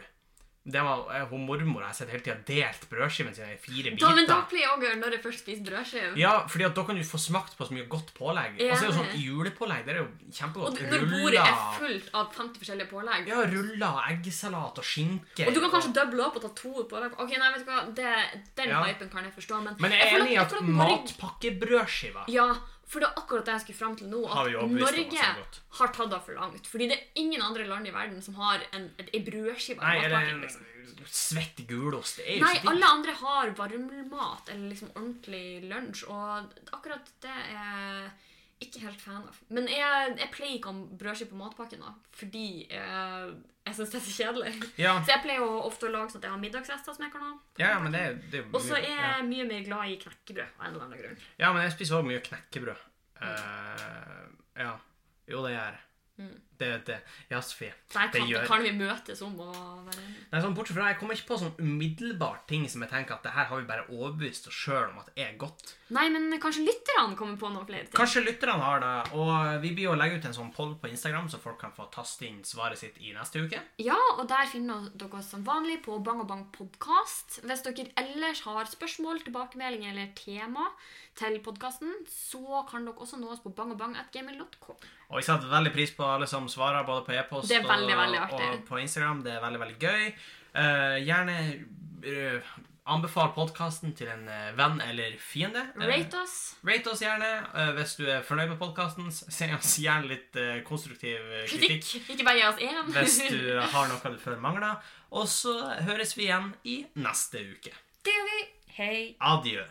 Speaker 1: Det var eh, hun mormor jeg har sett hele tida delt brødskiven sin i fire
Speaker 2: Da, men da
Speaker 1: biter.
Speaker 2: pleier jeg også å gjøre når jeg først spiser brødskive.
Speaker 1: Ja, fordi at da kan du få smakt på så mye godt pålegg. Og så er det jo sånn julepålegg. Det er jo
Speaker 2: Og
Speaker 1: kjempegodt.
Speaker 2: du- når bordet er
Speaker 1: Ruller
Speaker 2: fullt av 50 forskjellige pålegg
Speaker 1: Ja, ruller og eggesalat og skinke.
Speaker 2: Og du kan kanskje double opp og ta to pålegg Ok, nei, vet du hva det, Den
Speaker 1: Ja.
Speaker 2: hypen kan jeg forstå, men,
Speaker 1: Men jeg er
Speaker 2: føler
Speaker 1: enig i at
Speaker 2: føler Norge,
Speaker 1: matpakkebrødskiva
Speaker 2: Ja, for det er akkurat det jeg skulle fram til nå.
Speaker 1: Har
Speaker 2: At
Speaker 1: vi overbevist om at det
Speaker 2: Norge
Speaker 1: er godt.
Speaker 2: har tatt det for langt. Fordi det er ingen andre land i verden som har en, et- ei brødskive. i
Speaker 1: Nei, eller
Speaker 2: matpakken,
Speaker 1: en
Speaker 2: liksom.
Speaker 1: svett gulost. Det er jo
Speaker 2: Nei,
Speaker 1: ikke digg.
Speaker 2: alle andre har varmmat eller liksom ordentlig lunsj, og akkurat det er jeg ikke helt fan av. Men jeg, jeg pleier ikke å ha brødskive på matpakken, da, fordi eh, jeg syns det er så kjedelig.
Speaker 1: Ja,
Speaker 2: Så jeg pleier jo ofte å lage sånn at jeg har middagsrester som jeg kan ha.
Speaker 1: ja, ja, men det, er- det er jo
Speaker 2: Og så
Speaker 1: mye- Mm,
Speaker 2: er
Speaker 1: ja.
Speaker 2: jeg mye mer glad i knekkebrød av en eller annen grunn.
Speaker 1: Ja, men jeg spiser også mye knekkebrød. Eh, ja. Jo, det gjør jeg.
Speaker 2: Mm.
Speaker 1: Det, det. Ja, Sofie.
Speaker 2: Der
Speaker 1: Det
Speaker 2: kan,
Speaker 1: gjør-
Speaker 2: kan vi møtes om å være enige.
Speaker 1: Nei, sånn, bortsett fra Jeg kommer ikke på sånn umiddelbart ting som jeg tenker at det her har vi bare overbevist oss sjøl om at er godt.
Speaker 2: Nei, men kanskje lytterne kommer på noe flere ting.
Speaker 1: Kanskje lytterne har det. Og vi blir jo å legge ut en sånn poll på Instagram, så folk kan få taste inn svaret sitt i neste uke.
Speaker 2: Ja, og der finner dere oss som vanlig på Bang og Bang podkast. Hvis dere ellers har spørsmål, tilbakemeldinger eller tema til podkasten, så kan dere også nå oss på bangobang.gmil.com.
Speaker 1: Og vi setter veldig pris på alle som svarer, både på e-post
Speaker 2: Det er veldig,
Speaker 1: og,
Speaker 2: veldig artig.
Speaker 1: og på Instagram. Det er veldig, veldig gøy. Eh, gjerne eh, anbefal podkasten til en eh, venn eller fiende. Eh,
Speaker 2: Rate oss.
Speaker 1: Rate oss gjerne eh, hvis du er fornøyd med podkasten. Send oss gjerne litt eh, konstruktiv eh,
Speaker 2: Kritikk.
Speaker 1: kritikk
Speaker 2: Ikke bare gi oss én.
Speaker 1: hvis du har noe du føler mangler. Og så høres vi igjen i neste uke.
Speaker 2: Det gjør vi. Hei.
Speaker 1: Adjø.